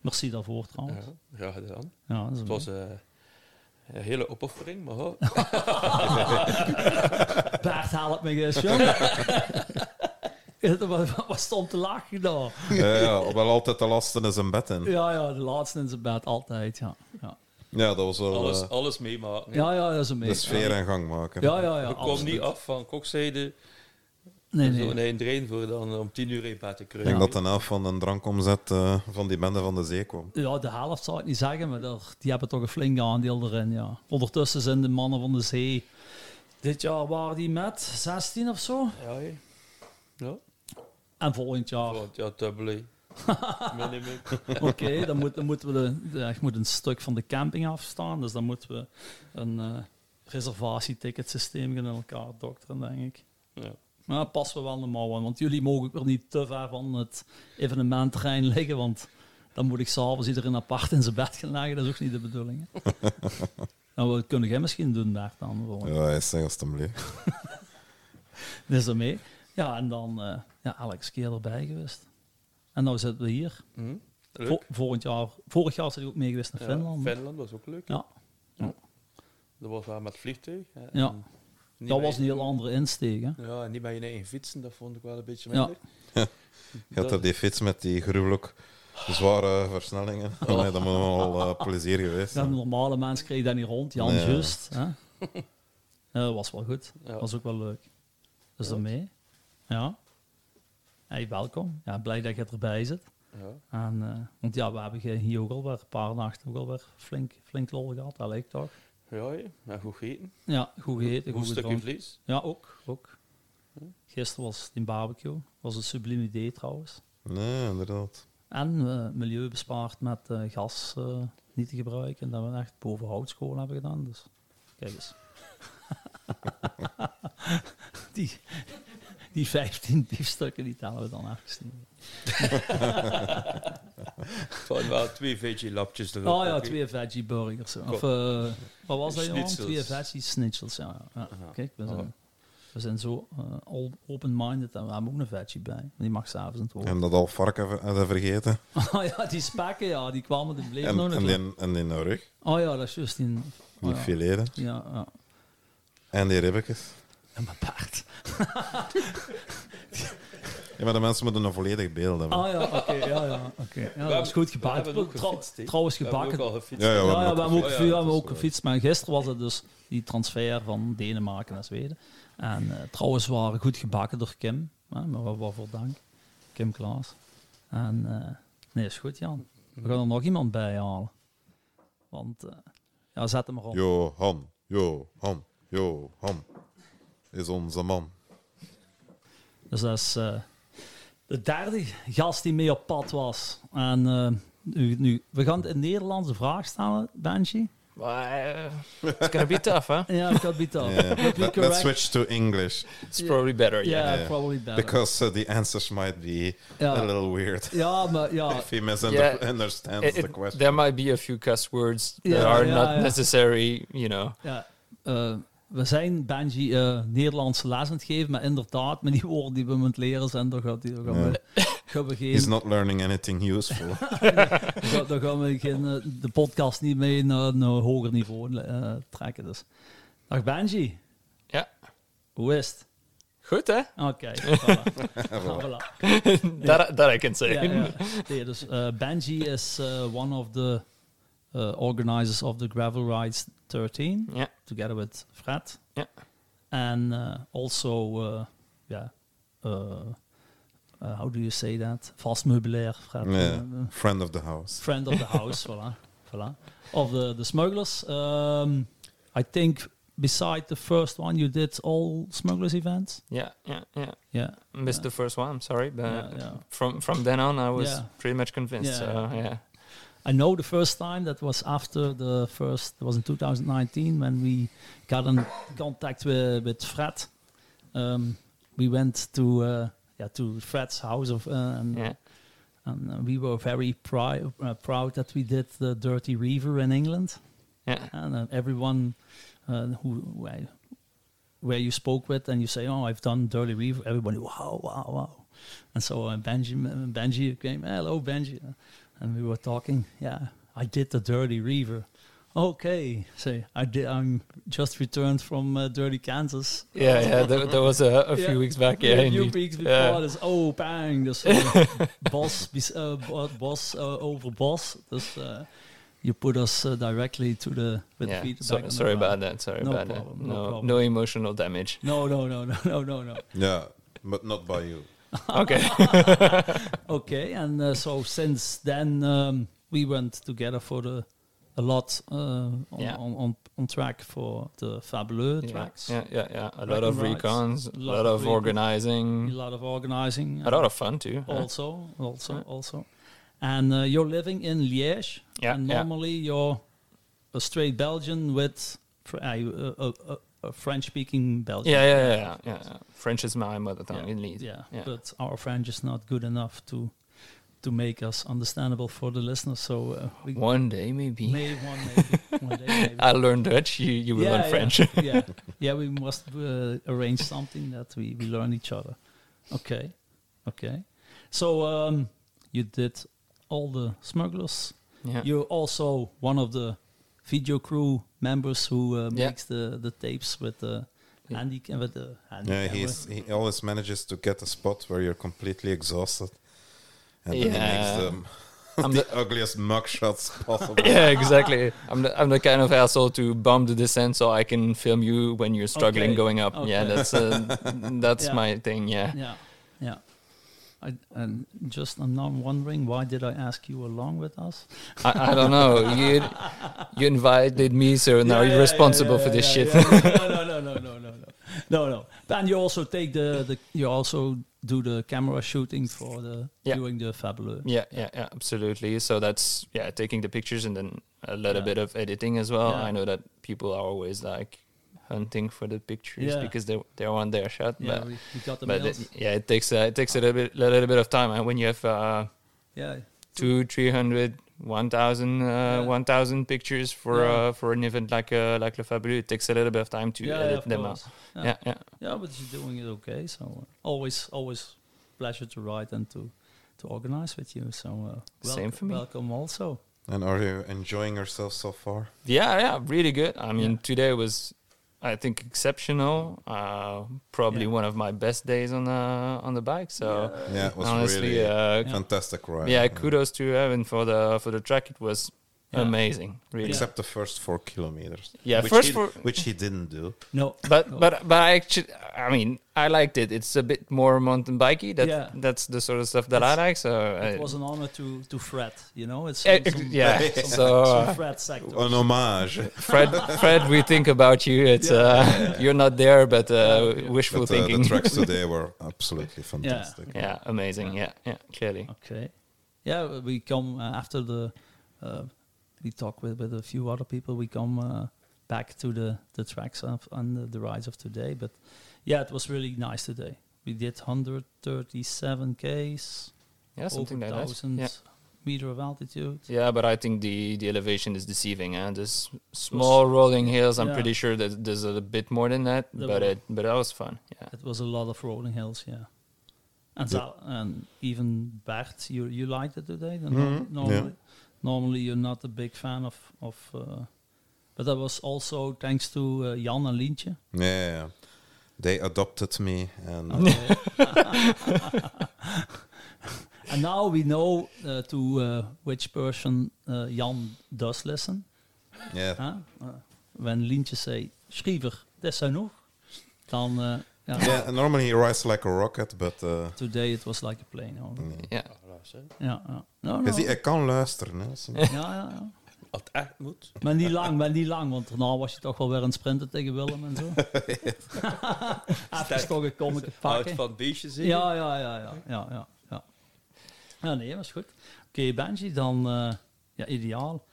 Speaker 1: Merci daarvoor trouwens.
Speaker 5: Ja, graag gedaan.
Speaker 1: Ja, dat is
Speaker 5: Het
Speaker 1: een-
Speaker 5: was eh, een hele opoffering, maar oh,
Speaker 1: Bert, haal het me eens, jongen. Ja, wat, wat stond te lachen daar?
Speaker 2: Ja, ja, wel altijd de lasten is een bed in.
Speaker 1: Ja, ja, de laatste in zijn bed, altijd, ja. Ja,
Speaker 2: Ja, dat was wel
Speaker 5: alles,
Speaker 2: eh,
Speaker 5: alles meemaken.
Speaker 1: ja, ja dat is een
Speaker 2: de
Speaker 1: beetje.
Speaker 2: sfeer en gang maken.
Speaker 1: Ja, ja, ja.
Speaker 5: ik kwam
Speaker 1: absoluut.
Speaker 5: niet af van kokzijde,
Speaker 1: Nee, nee.
Speaker 5: zo'n eind erin voor dan om tien uur in bed te
Speaker 2: Ik denk
Speaker 5: kruipen.
Speaker 2: dat de helft van een drankomzet eh, van die bende van de zee kwam.
Speaker 1: Ja, de helft zou ik niet zeggen, maar daar- die hebben toch een flink aandeel erin. Ja. Ondertussen zijn de mannen van de zee. Dit jaar waren die met 16 of zo.
Speaker 5: Ja, hè. ja.
Speaker 1: En volgend jaar
Speaker 5: Want ja, dubbele. Minimum.
Speaker 1: Oké, dan, moet, dan moeten we de, ja, ik moet een stuk van de camping afstaan. Dus dan moeten we een eh, reservatieticketsysteem gaan in elkaar dokteren, denk ik.
Speaker 5: Ja.
Speaker 1: Maar dat passen we wel in de mouwen, want jullie mogen ook weer niet te ver van het evenementterrein liggen, want dan moet ik s'avonds iedereen apart in zijn bed gaan leggen. Dat is ook niet de bedoeling. hè. nou, wat kunnen jij misschien doen, Bert, dan? Gewoon.
Speaker 2: Ja, hij zegt alsjeblieft.
Speaker 1: Dus daarmee. Ja, en dan eh ja, Alex keer erbij geweest. En nou zitten we hier.
Speaker 5: Hm? Leuk.
Speaker 1: Vo- volgend jaar, vorig jaar zijn we ook mee geweest naar
Speaker 5: Ja,
Speaker 1: Finland. hè?
Speaker 5: Finland was ook leuk.
Speaker 1: Ja.
Speaker 5: Dat was waar met vliegtuig. hè. En
Speaker 1: Ja.
Speaker 5: niet
Speaker 1: dat
Speaker 5: met
Speaker 1: was een heel andere insteek. Hè?
Speaker 5: Ja, en niet bij je eigen fietsen, dat vond ik wel een beetje
Speaker 1: Ja.
Speaker 5: minder.
Speaker 2: Je had daar die fiets met die gruwelijk zware versnellingen. Nee, dat moet wel eh, plezier geweest
Speaker 1: Ja,
Speaker 2: zijn.
Speaker 1: de normale mens kreeg dat niet rond, Jan
Speaker 2: Nee.
Speaker 1: Just. Hè? Eh, Dat was wel goed.
Speaker 5: Ja.
Speaker 1: was ook wel leuk. Dus
Speaker 5: Ja.
Speaker 1: daarmee. Ja. Hey, welkom. Ja, blij dat je erbij zit.
Speaker 5: Ja.
Speaker 1: En, eh, want ja, we hebben ge- hier ook alweer een paar nachten ook alweer flink, flink lol gehad. Dat lijkt toch.
Speaker 5: Ja, ja. ja, goed gegeten.
Speaker 1: Ja, goed gegeten,
Speaker 5: Goed
Speaker 1: goed
Speaker 5: stukje
Speaker 1: gedronken.
Speaker 5: vlees.
Speaker 1: Ja, ook. ook. Gisteren was het in barbecue. was een subliem idee trouwens.
Speaker 2: Nee, inderdaad.
Speaker 1: En eh, milieu bespaard met eh, gas eh, niet te gebruiken. En dat we echt boven houtskool hebben gedaan. Dus kijk eens. die, die 15 biefstukken die tellen we dan even niet.
Speaker 5: Van wel twee veggie lapjes erop.
Speaker 1: Oh ja,
Speaker 5: oké.
Speaker 1: twee veggie burgers. Of eh, wat was dat Johan?
Speaker 5: Schnitzels.
Speaker 1: Twee veggie schnitzels. Ja. Ja,
Speaker 5: Ja.
Speaker 1: Kijk, we zijn,
Speaker 5: Ja.
Speaker 1: we zijn zo eh, all- open-minded en we hebben ook een veggie bij. Die mag s'avonds in het woord.
Speaker 2: En dat al varken ver- hadden vergeten.
Speaker 1: Oh ja, die spekken, ja, die kwamen er bleef nog
Speaker 2: En, en,
Speaker 1: een
Speaker 2: die, en die rug,
Speaker 1: Oh ja, dat is juist in.
Speaker 2: die
Speaker 1: Oh, ja.
Speaker 2: fileren.
Speaker 1: Ja, ja.
Speaker 2: En die ribbetjes.
Speaker 1: En mijn paard.
Speaker 2: Ja, maar de mensen moeten een volledig beeld hebben.
Speaker 1: Oh ja, oké, ja, ja, oké. Ja, dat was
Speaker 5: hebben-
Speaker 1: goed
Speaker 5: we hebben ook
Speaker 1: gebakken. Trou-
Speaker 5: gefietst, hè.
Speaker 1: trouwens,
Speaker 5: We hebben ook
Speaker 1: gebakken.
Speaker 5: al gefietst.
Speaker 2: Ja, ja,
Speaker 1: Ja,
Speaker 2: we
Speaker 1: ja, we hebben ook,
Speaker 5: gefietst.
Speaker 1: veel- we
Speaker 5: Ja, ja,
Speaker 1: hebben ook
Speaker 5: dat is waar.
Speaker 1: gefietst. Maar gisteren was het dus die transfer van Denemarken naar Zweden. En eh, trouwens waren goed gebakken door Kim. Hè, maar wat, wat voor dank. Kim Klaas. En eh, nee, is goed Jan. We gaan er nog iemand bij halen. Want eh, ja, zet hem erop.
Speaker 2: Johan, Johan, Johan is onze man.
Speaker 1: Dus dat is eh, de derde gast die mee op pad was. En eh, nu, nu, we gaan het in Nederlandse vraag stellen, Benji.
Speaker 6: Maar, eh, it's gonna be tough, huh?
Speaker 1: Ja, ik had het al.
Speaker 2: Yeah.
Speaker 1: Would be
Speaker 2: Let,
Speaker 1: correct.
Speaker 2: let's switch to English
Speaker 6: It's probably better, yeah.
Speaker 1: Yeah,
Speaker 2: ja.
Speaker 1: probably better.
Speaker 2: because uh, the answers might be a
Speaker 1: ja.
Speaker 2: little weird
Speaker 1: ja, maar ja.
Speaker 2: if he
Speaker 6: Uh, Yeah.
Speaker 2: misunderstands
Speaker 6: It-
Speaker 2: the
Speaker 6: it-
Speaker 2: question.
Speaker 6: there might be a few cuss words
Speaker 1: Yeah,
Speaker 6: that are
Speaker 1: yeah,
Speaker 6: not
Speaker 1: yeah.
Speaker 6: necessary, you know.
Speaker 1: ja eh, we zijn Benji eh, Nederlandse les aan het geven, maar inderdaad, met die woorden die we moeten leren zijn, daar gaat hij- daar gaan, we- gaan we geen,
Speaker 2: He's not learning anything useful.
Speaker 1: daar- daar gaan we geen, eh, de podcast niet mee naar een eh, hoger niveau eh, trekken. Dus. Dag Benji,
Speaker 6: Ja,
Speaker 1: hoe is het?
Speaker 6: goed hè?
Speaker 1: Oké, voilà. Voilà.
Speaker 6: that, that I can say.
Speaker 1: Ja, ja. Nee, dus eh, Benji is eh, one of the eh, organizers of the Gravel Rides 13,
Speaker 6: Yeah.
Speaker 1: together with Fred.
Speaker 6: Ja.
Speaker 1: And uh, also, uh, yeah, uh, uh, how do you say that? Vast meubilair, Fred.
Speaker 2: Yeah.
Speaker 1: Uh,
Speaker 2: Friend of the house.
Speaker 1: friend of the house, voilà, voilà. Of the, the smugglers. Um, I think beside the first one, you did all smugglers events.
Speaker 6: yeah, yeah, yeah.
Speaker 1: Yeah.
Speaker 6: Missed the first one. I'm sorry, but
Speaker 1: Yeah, yeah.
Speaker 6: from from then on, I was
Speaker 1: Yeah.
Speaker 6: pretty much convinced.
Speaker 1: Yeah,
Speaker 6: so, yeah.
Speaker 1: I know the first time that was after the first that was in 2019 when we got in contact with, with Fred. Um, we went to uh, yeah to Fred's house of uh, and,
Speaker 6: yeah,
Speaker 1: and uh, we were very pri- uh, proud that we did the Dirty River in England
Speaker 6: yeah,
Speaker 1: and uh, everyone uh, who, who I- where you spoke with and you say, "Oh, I've done Dirty Reef," everybody, "Wow, wow, wow!" And so uh, Benji, Benji came, "Hello, Benji," and we were talking. Yeah, I did the Dirty Reaver. Okay, say I did. I'm just returned from uh, Dirty Kansas.
Speaker 6: yeah, yeah. There, there was a, a few
Speaker 1: Yeah.
Speaker 6: weeks back. Yeah,
Speaker 1: a few
Speaker 6: indeed.
Speaker 1: weeks before
Speaker 6: Yeah.
Speaker 1: this. Oh, bang! This uh, boss, bes- uh, bo- boss uh, over boss. This uh, you put us uh, directly to the with
Speaker 6: Yeah.
Speaker 1: the feet
Speaker 6: So-
Speaker 1: back on the
Speaker 6: sorry
Speaker 1: ground.
Speaker 6: about that. Sorry
Speaker 1: No
Speaker 6: about
Speaker 1: problem,
Speaker 6: that.
Speaker 1: no
Speaker 6: No,
Speaker 1: problem.
Speaker 6: no emotional damage.
Speaker 1: No, no, no, no, no, no, no.
Speaker 2: Yeah, but not by you.
Speaker 6: okay.
Speaker 1: Okay, and uh, so since then um, we went together for the a lot uh, on,
Speaker 6: Yeah.
Speaker 1: on, on, on track for the Fabuleux
Speaker 6: Yeah,
Speaker 1: tracks.
Speaker 6: yeah, yeah, yeah. A lot of
Speaker 1: Wrecking rides.
Speaker 6: recons, a
Speaker 1: Lot
Speaker 6: lot
Speaker 1: of
Speaker 6: of
Speaker 1: recon- A
Speaker 6: organizing,
Speaker 1: lot of organizing.
Speaker 6: a lot of fun too. huh?
Speaker 1: also, also,
Speaker 6: Yeah.
Speaker 1: also. And uh, you're living in Liège,
Speaker 6: Yeah,
Speaker 1: and
Speaker 6: yeah.
Speaker 1: normally you're a straight Belgian with fr- uh, a, a, a French-speaking Belgian.
Speaker 6: Yeah, yeah, yeah, yeah, yeah, yeah. French is my mother tongue in Leeds.
Speaker 1: Yeah,
Speaker 6: yeah.
Speaker 1: but our French is not good enough to to make us understandable for the listeners. So uh, we
Speaker 6: One day maybe.
Speaker 1: may one, maybe, one day maybe.
Speaker 6: I learn Dutch. You you will learn French.
Speaker 1: Yeah, yeah, yeah. We must uh, arrange something that we, we learn each other. Okay, okay. So um, you did all the smugglers.
Speaker 6: Yeah.
Speaker 1: You're also one of the video crew members who uh,
Speaker 6: Yeah.
Speaker 1: makes the, the tapes with the
Speaker 6: Yeah.
Speaker 1: handy ca- with the handy
Speaker 2: Yeah,
Speaker 1: camera.
Speaker 2: he's, he always manages to get a spot where you're completely exhausted. And then
Speaker 6: Yeah.
Speaker 2: he makes the,
Speaker 6: I'm
Speaker 2: the ugliest mugshots possible.
Speaker 6: yeah, exactly. I'm the, I'm the kind of asshole to bomb the descent so I can film you when you're struggling
Speaker 1: Okay.
Speaker 6: going up. Yeah,
Speaker 1: Okay.
Speaker 6: that's uh, that's
Speaker 1: Yeah.
Speaker 6: my thing. Yeah.
Speaker 1: yeah, yeah. I, and just I'm now wondering why did I ask you along with us?
Speaker 6: I, I don't know. You you invited me, so now you're responsible for this shit.
Speaker 1: shit. No, no, no, no, no, no, no, no, no. And you also take the, the you also do the camera shooting for the
Speaker 6: Yeah.
Speaker 1: doing the fabulous.
Speaker 6: Yeah, yeah, yeah, absolutely. So that's yeah, taking the pictures and then a little
Speaker 1: Yeah.
Speaker 6: bit of editing as well.
Speaker 1: Yeah.
Speaker 6: I know that people are always like hunting for the pictures
Speaker 1: Yeah.
Speaker 6: because they they want their shot.
Speaker 1: Yeah,
Speaker 6: but
Speaker 1: we, we got the
Speaker 6: but
Speaker 1: mails.
Speaker 6: it- yeah, it takes uh, it takes a little bit a little bit of time. And when you have uh,
Speaker 1: yeah,
Speaker 6: two, three hundred, one thousand, uh,
Speaker 1: Yeah.
Speaker 6: one thousand pictures for
Speaker 1: Yeah.
Speaker 6: uh, for an event like uh, like Le Fabuleux, it takes a little bit of time to
Speaker 1: yeah,
Speaker 6: edit
Speaker 1: of
Speaker 6: them out.
Speaker 1: course.
Speaker 6: Yeah.
Speaker 1: Yeah.
Speaker 6: Yeah,
Speaker 1: Yeah, but you're doing it okay. So uh, always, always pleasure to write and to to organize with you. So uh,
Speaker 6: Same
Speaker 1: welcome,
Speaker 6: for me.
Speaker 1: Welcome also.
Speaker 2: And are you enjoying yourself so far?
Speaker 6: yeah, yeah, really good. I mean,
Speaker 1: Yeah.
Speaker 6: today was, I think, exceptional. Uh, probably
Speaker 1: Yeah.
Speaker 6: one of my best days on the on the bike. So
Speaker 2: Yeah, it was
Speaker 6: honestly,
Speaker 2: really
Speaker 6: uh,
Speaker 1: Yeah.
Speaker 2: fantastic ride.
Speaker 6: yeah, kudos to Evan for the for the track. It was
Speaker 1: Yeah.
Speaker 6: amazing, really.
Speaker 2: Except the first four kilometers.
Speaker 6: Yeah,
Speaker 2: which
Speaker 6: first
Speaker 2: he,
Speaker 6: four-
Speaker 2: Which he didn't do.
Speaker 1: No,
Speaker 6: But but but I actually, I mean, I liked it. It's a bit more mountain bikey. That
Speaker 1: Yeah.
Speaker 6: that's the sort of stuff that I
Speaker 1: It's-
Speaker 6: like. So I-
Speaker 1: it was an honor to to Fred. You know, it's
Speaker 6: Eh,
Speaker 1: some- some-
Speaker 6: yeah.
Speaker 1: some-
Speaker 6: So, uh,
Speaker 1: some Fred sector.
Speaker 2: An homage.
Speaker 6: Fred, Fred, we think about you. It's uh, you're not there, but uh, wishful
Speaker 2: But, uh,
Speaker 6: thinking.
Speaker 2: the tracks today were absolutely fantastic.
Speaker 6: yeah, amazing. Yeah, yeah, clearly.
Speaker 1: Okay. Yeah, we come uh, after the. Uh, we talk with, with a few other people. We come uh, back to the the tracks of, and the, the rides of today. But yeah, it was really nice today. We did 137 k's,
Speaker 6: Yeah, something
Speaker 1: over
Speaker 6: like that.
Speaker 1: 1000
Speaker 6: Yeah.
Speaker 1: meter of altitude.
Speaker 6: yeah, but I think the the elevation is deceiving. And this small rolling hills, I'm
Speaker 1: Yeah.
Speaker 6: pretty sure that there's a bit more than that.
Speaker 1: There
Speaker 6: but
Speaker 1: were-
Speaker 6: it but that was fun. Yeah.
Speaker 1: It was a lot of rolling hills. Yeah. And,
Speaker 2: Yeah.
Speaker 1: so- and even Bert, you you liked it today. then
Speaker 2: Mhm,
Speaker 1: Normally, normally you're not a big fan of of, uh, but that was also thanks to uh, Jan and Lientje.
Speaker 2: Yeah, yeah, yeah. They adopted me and uh,
Speaker 1: and now we know uh, to uh, which person uh, Jan does listen.
Speaker 2: yeah.
Speaker 6: Ah.
Speaker 1: Huh? Uh, when Lientje say Schriever, dat is genoeg. Dan uh, ja,
Speaker 2: Yeah, and normally he rides like a rocket, but
Speaker 6: Oh.
Speaker 2: uh,
Speaker 1: today it was like a plane. hoor.
Speaker 6: Yeah.
Speaker 1: Ja, ja. No, no.
Speaker 2: because hij kan luisteren. Hè.
Speaker 1: Ja, ja, ja.
Speaker 5: Als het echt moet.
Speaker 1: Maar niet lang, maar niet lang, want daarna was je toch wel weer aan het sprinten tegen Willem en zo. Even toch een kommetje
Speaker 5: Houdt
Speaker 1: pakken.
Speaker 5: van beestjes in.
Speaker 1: Ja, ja, ja, ja, ja, ja, ja. Ja, nee, was goed. Oké, Benji, dan eh, ja, ideaal.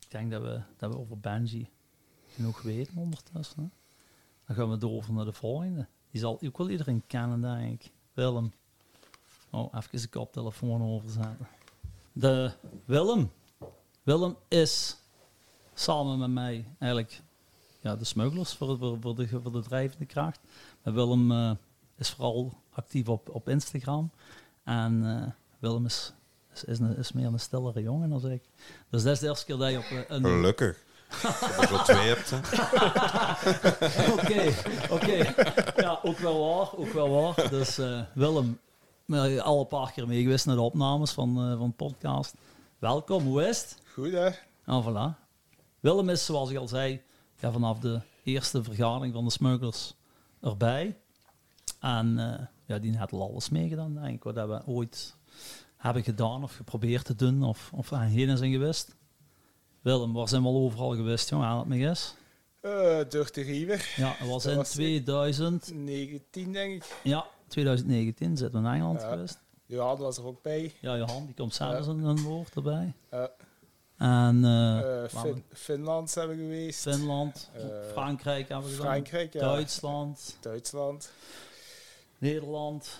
Speaker 1: Ik denk dat we, dat we over Benji genoeg weten ondertussen. Hè? Dan gaan we door naar de volgende. Die zal ook wel iedereen kennen, denk ik. Willem. Oh, even de koptelefoon overzetten. De Willem. Willem is samen met mij eigenlijk ja, de smugglers voor, voor, voor, de, voor de drijvende kracht. Maar Willem eh, is vooral actief op, op Instagram. En eh, Willem is, is, is, een- is meer een stillere jongen dan ik. Dus dat is de eerste keer dat je op eh, een...
Speaker 2: Gelukkig. Dat je er twee hebt. hè.
Speaker 1: Oké, oké. Ja, ook wel waar, ook wel waar. Dus eh, Willem, eh, al een paar keer mee geweest naar de opnames van, eh, van podcast. Welkom, hoe is het?
Speaker 7: Goed hè?
Speaker 1: Nou, voilà. Willem is, zoals ik al zei, ja, vanaf de eerste vergadering van de smugglers erbij. En eh, ja, die had al alles meegedaan, denk ik. Wat dat we ooit hebben gedaan of geprobeerd te doen of, of aan heen zijn geweest. Willem, waar zijn we al overal geweest, jongen? Haal het me eens.
Speaker 7: Eh, door de river.
Speaker 1: Ja, dat was
Speaker 7: Dat
Speaker 1: in
Speaker 7: was ik.
Speaker 1: 2000.
Speaker 7: 19, denk ik.
Speaker 1: Ja, 2019 zitten we in Engeland
Speaker 7: Ja.
Speaker 1: geweest.
Speaker 7: Johan was er ook bij.
Speaker 1: Ja, Johan, die komt zelfs een, een woord erbij.
Speaker 7: Ja.
Speaker 1: En eh,
Speaker 7: Eh,
Speaker 1: waar
Speaker 7: Fin-
Speaker 1: we-
Speaker 7: Finland zijn we geweest.
Speaker 1: Finland,
Speaker 7: Eh,
Speaker 1: Frankrijk hebben we gedaan.
Speaker 7: Frankrijk, ja.
Speaker 1: Duitsland,
Speaker 7: Duitsland.
Speaker 1: Nederland,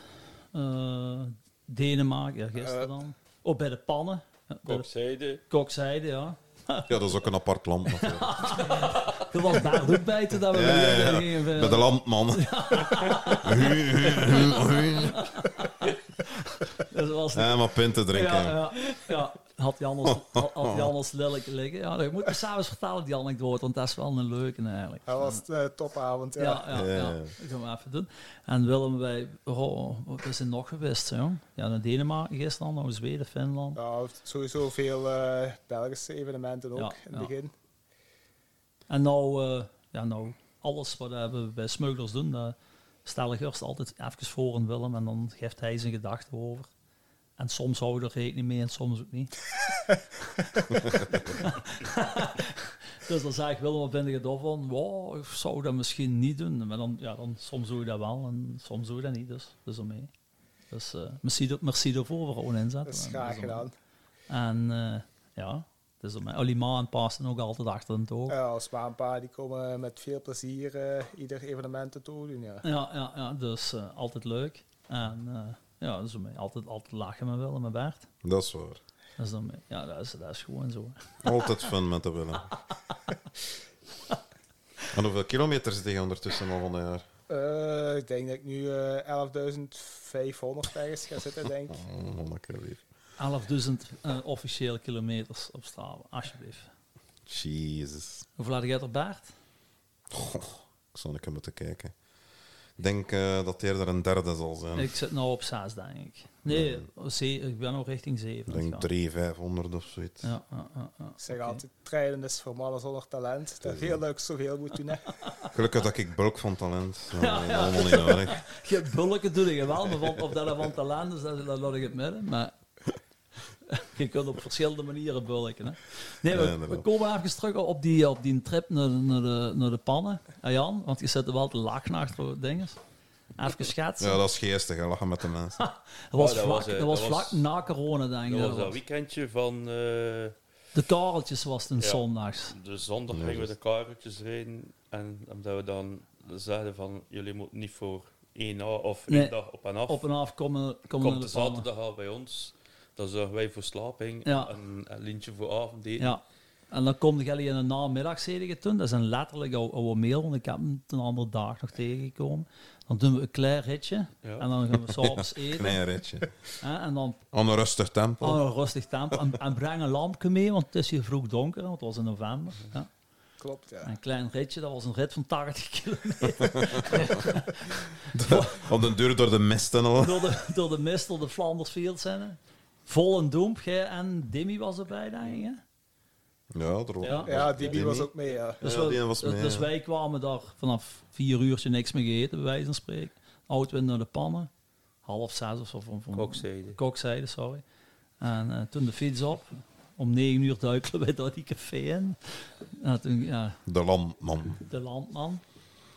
Speaker 1: eh, Denemarken, ja, gisteren
Speaker 7: Eh.
Speaker 1: dan. Ook bij de pannen. Ja, bij de
Speaker 5: Kokzijde.
Speaker 1: Kokzijde, ja.
Speaker 2: Ja, dat is ook een apart land. natuurlijk.
Speaker 1: Dat was daar ook bij toen dat we
Speaker 2: Ja, ja, ja.
Speaker 1: gingen- gingen-
Speaker 2: Bij de landman.
Speaker 1: Dat was
Speaker 2: Ja, maar pinten drinken.
Speaker 1: Ja, ja, ja. Had Jan als, had had Jan als lelijke liggen. Ja, dat moet ik s'avonds vertalen, die anekdote, want dat is wel een leuke eigenlijk.
Speaker 7: Dat was een topavond, ja.
Speaker 1: Ja, ja, ja.
Speaker 2: Ja, ja.
Speaker 1: Dat gaan we even doen. En Willem, wij... Oh, wat is er nog geweest, joh? Ja, naar Denemarken gisteren, naar Zweden, Finland.
Speaker 7: Ja, sowieso veel eh, Belgische evenementen ook
Speaker 1: Ja,
Speaker 7: in het
Speaker 1: ja.
Speaker 7: begin.
Speaker 1: En nou, eh, ja, nou, alles wat eh, we bij smugglers doen, daar stel ik eerst altijd even voor aan Willem en dan geeft hij zijn gedachten over. En soms houden we er rekening mee en soms ook niet. dus dan zeg ik Willem, wat ben je ervan? van? Wow, ik zou dat misschien niet doen. Maar dan, ja, dan soms doe je dat wel en soms doe je dat niet. Dus, dus ermee. Dus eh merci, da- merci daarvoor voor gewoon inzet.
Speaker 7: Dat is
Speaker 1: En-
Speaker 7: graag
Speaker 1: dus ermee.
Speaker 7: gedaan.
Speaker 1: En eh, ja, dus ermee. Olly Ma en Paas ook altijd achter een toog.
Speaker 7: Ja, als pa en pa die komen met veel plezier eh, ieder evenement toe doen. Ja.
Speaker 1: Ja, ja, ja dus eh, altijd leuk. En eh, ja, dus ermee. altijd, altijd lachen met Willem en Bert.
Speaker 2: Dat is waar.
Speaker 1: Dus dan, ja, dat is, dat is gewoon zo.
Speaker 2: Altijd fun met de Willem. En hoeveel kilometer zit hij ondertussen al van de jaar?
Speaker 7: Eh, ik denk dat ik nu eh 11.500 ergens ga zitten, denk ik.
Speaker 2: Oh, honderd keer weer.
Speaker 1: 11.000 eh, officiële kilometers op Strava, alsjeblieft.
Speaker 2: Jezus.
Speaker 1: Hoeveel had jij er, Bert?
Speaker 2: Ik zal een keer moeten kijken. Ik denk eh, dat hij er een derde zal zijn.
Speaker 1: Ik zit nu op 6, denk ik. Nee, oh, ze- ik ben nog richting 7.
Speaker 2: Ik denk 3, 500 of zoiets.
Speaker 1: Ja, ja, ja, ja.
Speaker 7: Ik zeg
Speaker 1: Oké.
Speaker 7: altijd, trainen is voor mannen zonder talent. Dat is heel leuk, zoveel moet doen. Hè.
Speaker 2: Gelukkig dat ik bulk van talent. Ja, dat is Allemaal niet nodig.
Speaker 1: Je bulken doe je wel, maar van, of dat er van talent is, dat, dat laat ik het midden. Maar je kunt op verschillende manieren bulken. Hè. Nee,
Speaker 2: Ja,
Speaker 1: we,
Speaker 2: inderdaad.
Speaker 1: we komen even terug op die, op die trip naar, naar, de, naar de pannen. Ah, Jan, want je zit er wel te lachen achter dingen. Even schetsen.
Speaker 2: Ja, dat is geestig, hè, lachen met de mensen.
Speaker 1: dat was
Speaker 5: Ja, dat
Speaker 1: vlak,
Speaker 5: was, eh,
Speaker 1: dat was
Speaker 5: dat
Speaker 1: vlak
Speaker 5: was-
Speaker 1: na corona, denk ik.
Speaker 5: Dat was
Speaker 1: dat
Speaker 5: dat
Speaker 1: was.
Speaker 5: weekendje van eh,
Speaker 1: De kareltjes was het in
Speaker 5: Ja.
Speaker 1: zondags.
Speaker 5: de zondag
Speaker 2: Ja,
Speaker 5: gingen we
Speaker 2: dus-
Speaker 5: de karretjes rijden. En omdat we dan zeiden van, jullie moeten niet voor één, a- of één
Speaker 1: Nee.
Speaker 5: dag op en af.
Speaker 1: Op en af komen, komen
Speaker 5: Komt
Speaker 1: naar
Speaker 5: de
Speaker 1: de pannen.
Speaker 5: zaterdag al bij ons. Dan zorgen wij voor slaping
Speaker 1: Ja.
Speaker 5: en een lintje voor avondeten.
Speaker 1: Ja. En dan komt jullie in de namiddag, zei je toen. Dat is een letterlijk oude, oude mail, want ik heb hem een andere dag nog tegengekomen. Dan doen we een klein ritje.
Speaker 5: Ja.
Speaker 1: En dan gaan we s'avonds eten.
Speaker 2: Klein ritje.
Speaker 1: hè, en dan
Speaker 2: Aan een rustig tempo.
Speaker 1: aan een rustig tempo. En, en breng een lampje mee, want het is hier vroeg donker, want het was in november. Ja.
Speaker 7: Klopt, ja.
Speaker 1: En een klein ritje, dat was een rit van 80 kilometer
Speaker 2: Op de deur door de mist en al.
Speaker 1: door de, door de mist, door de Flandersfield zijn. hè. Vol een doemp, jij en Demi was erbij, denk ik. hè?
Speaker 2: Ja, er
Speaker 1: Ja.
Speaker 7: Ja, Dibi was ook mee, ja.
Speaker 1: Dus,
Speaker 2: Ja,
Speaker 1: wel-
Speaker 2: die was mee,
Speaker 1: dus
Speaker 2: ja.
Speaker 1: wij kwamen daar vanaf vier uurtje niks meer gegeten, bij wijze van spreken. Auto in naar de pannen. Half zes of zo. Van, van,
Speaker 5: Kokzijde.
Speaker 1: Kokzijde, sorry. En eh, toen de fiets op. Om negen uur duikelen wij daar die café in. En toen, ja,
Speaker 2: De landman.
Speaker 1: de landman.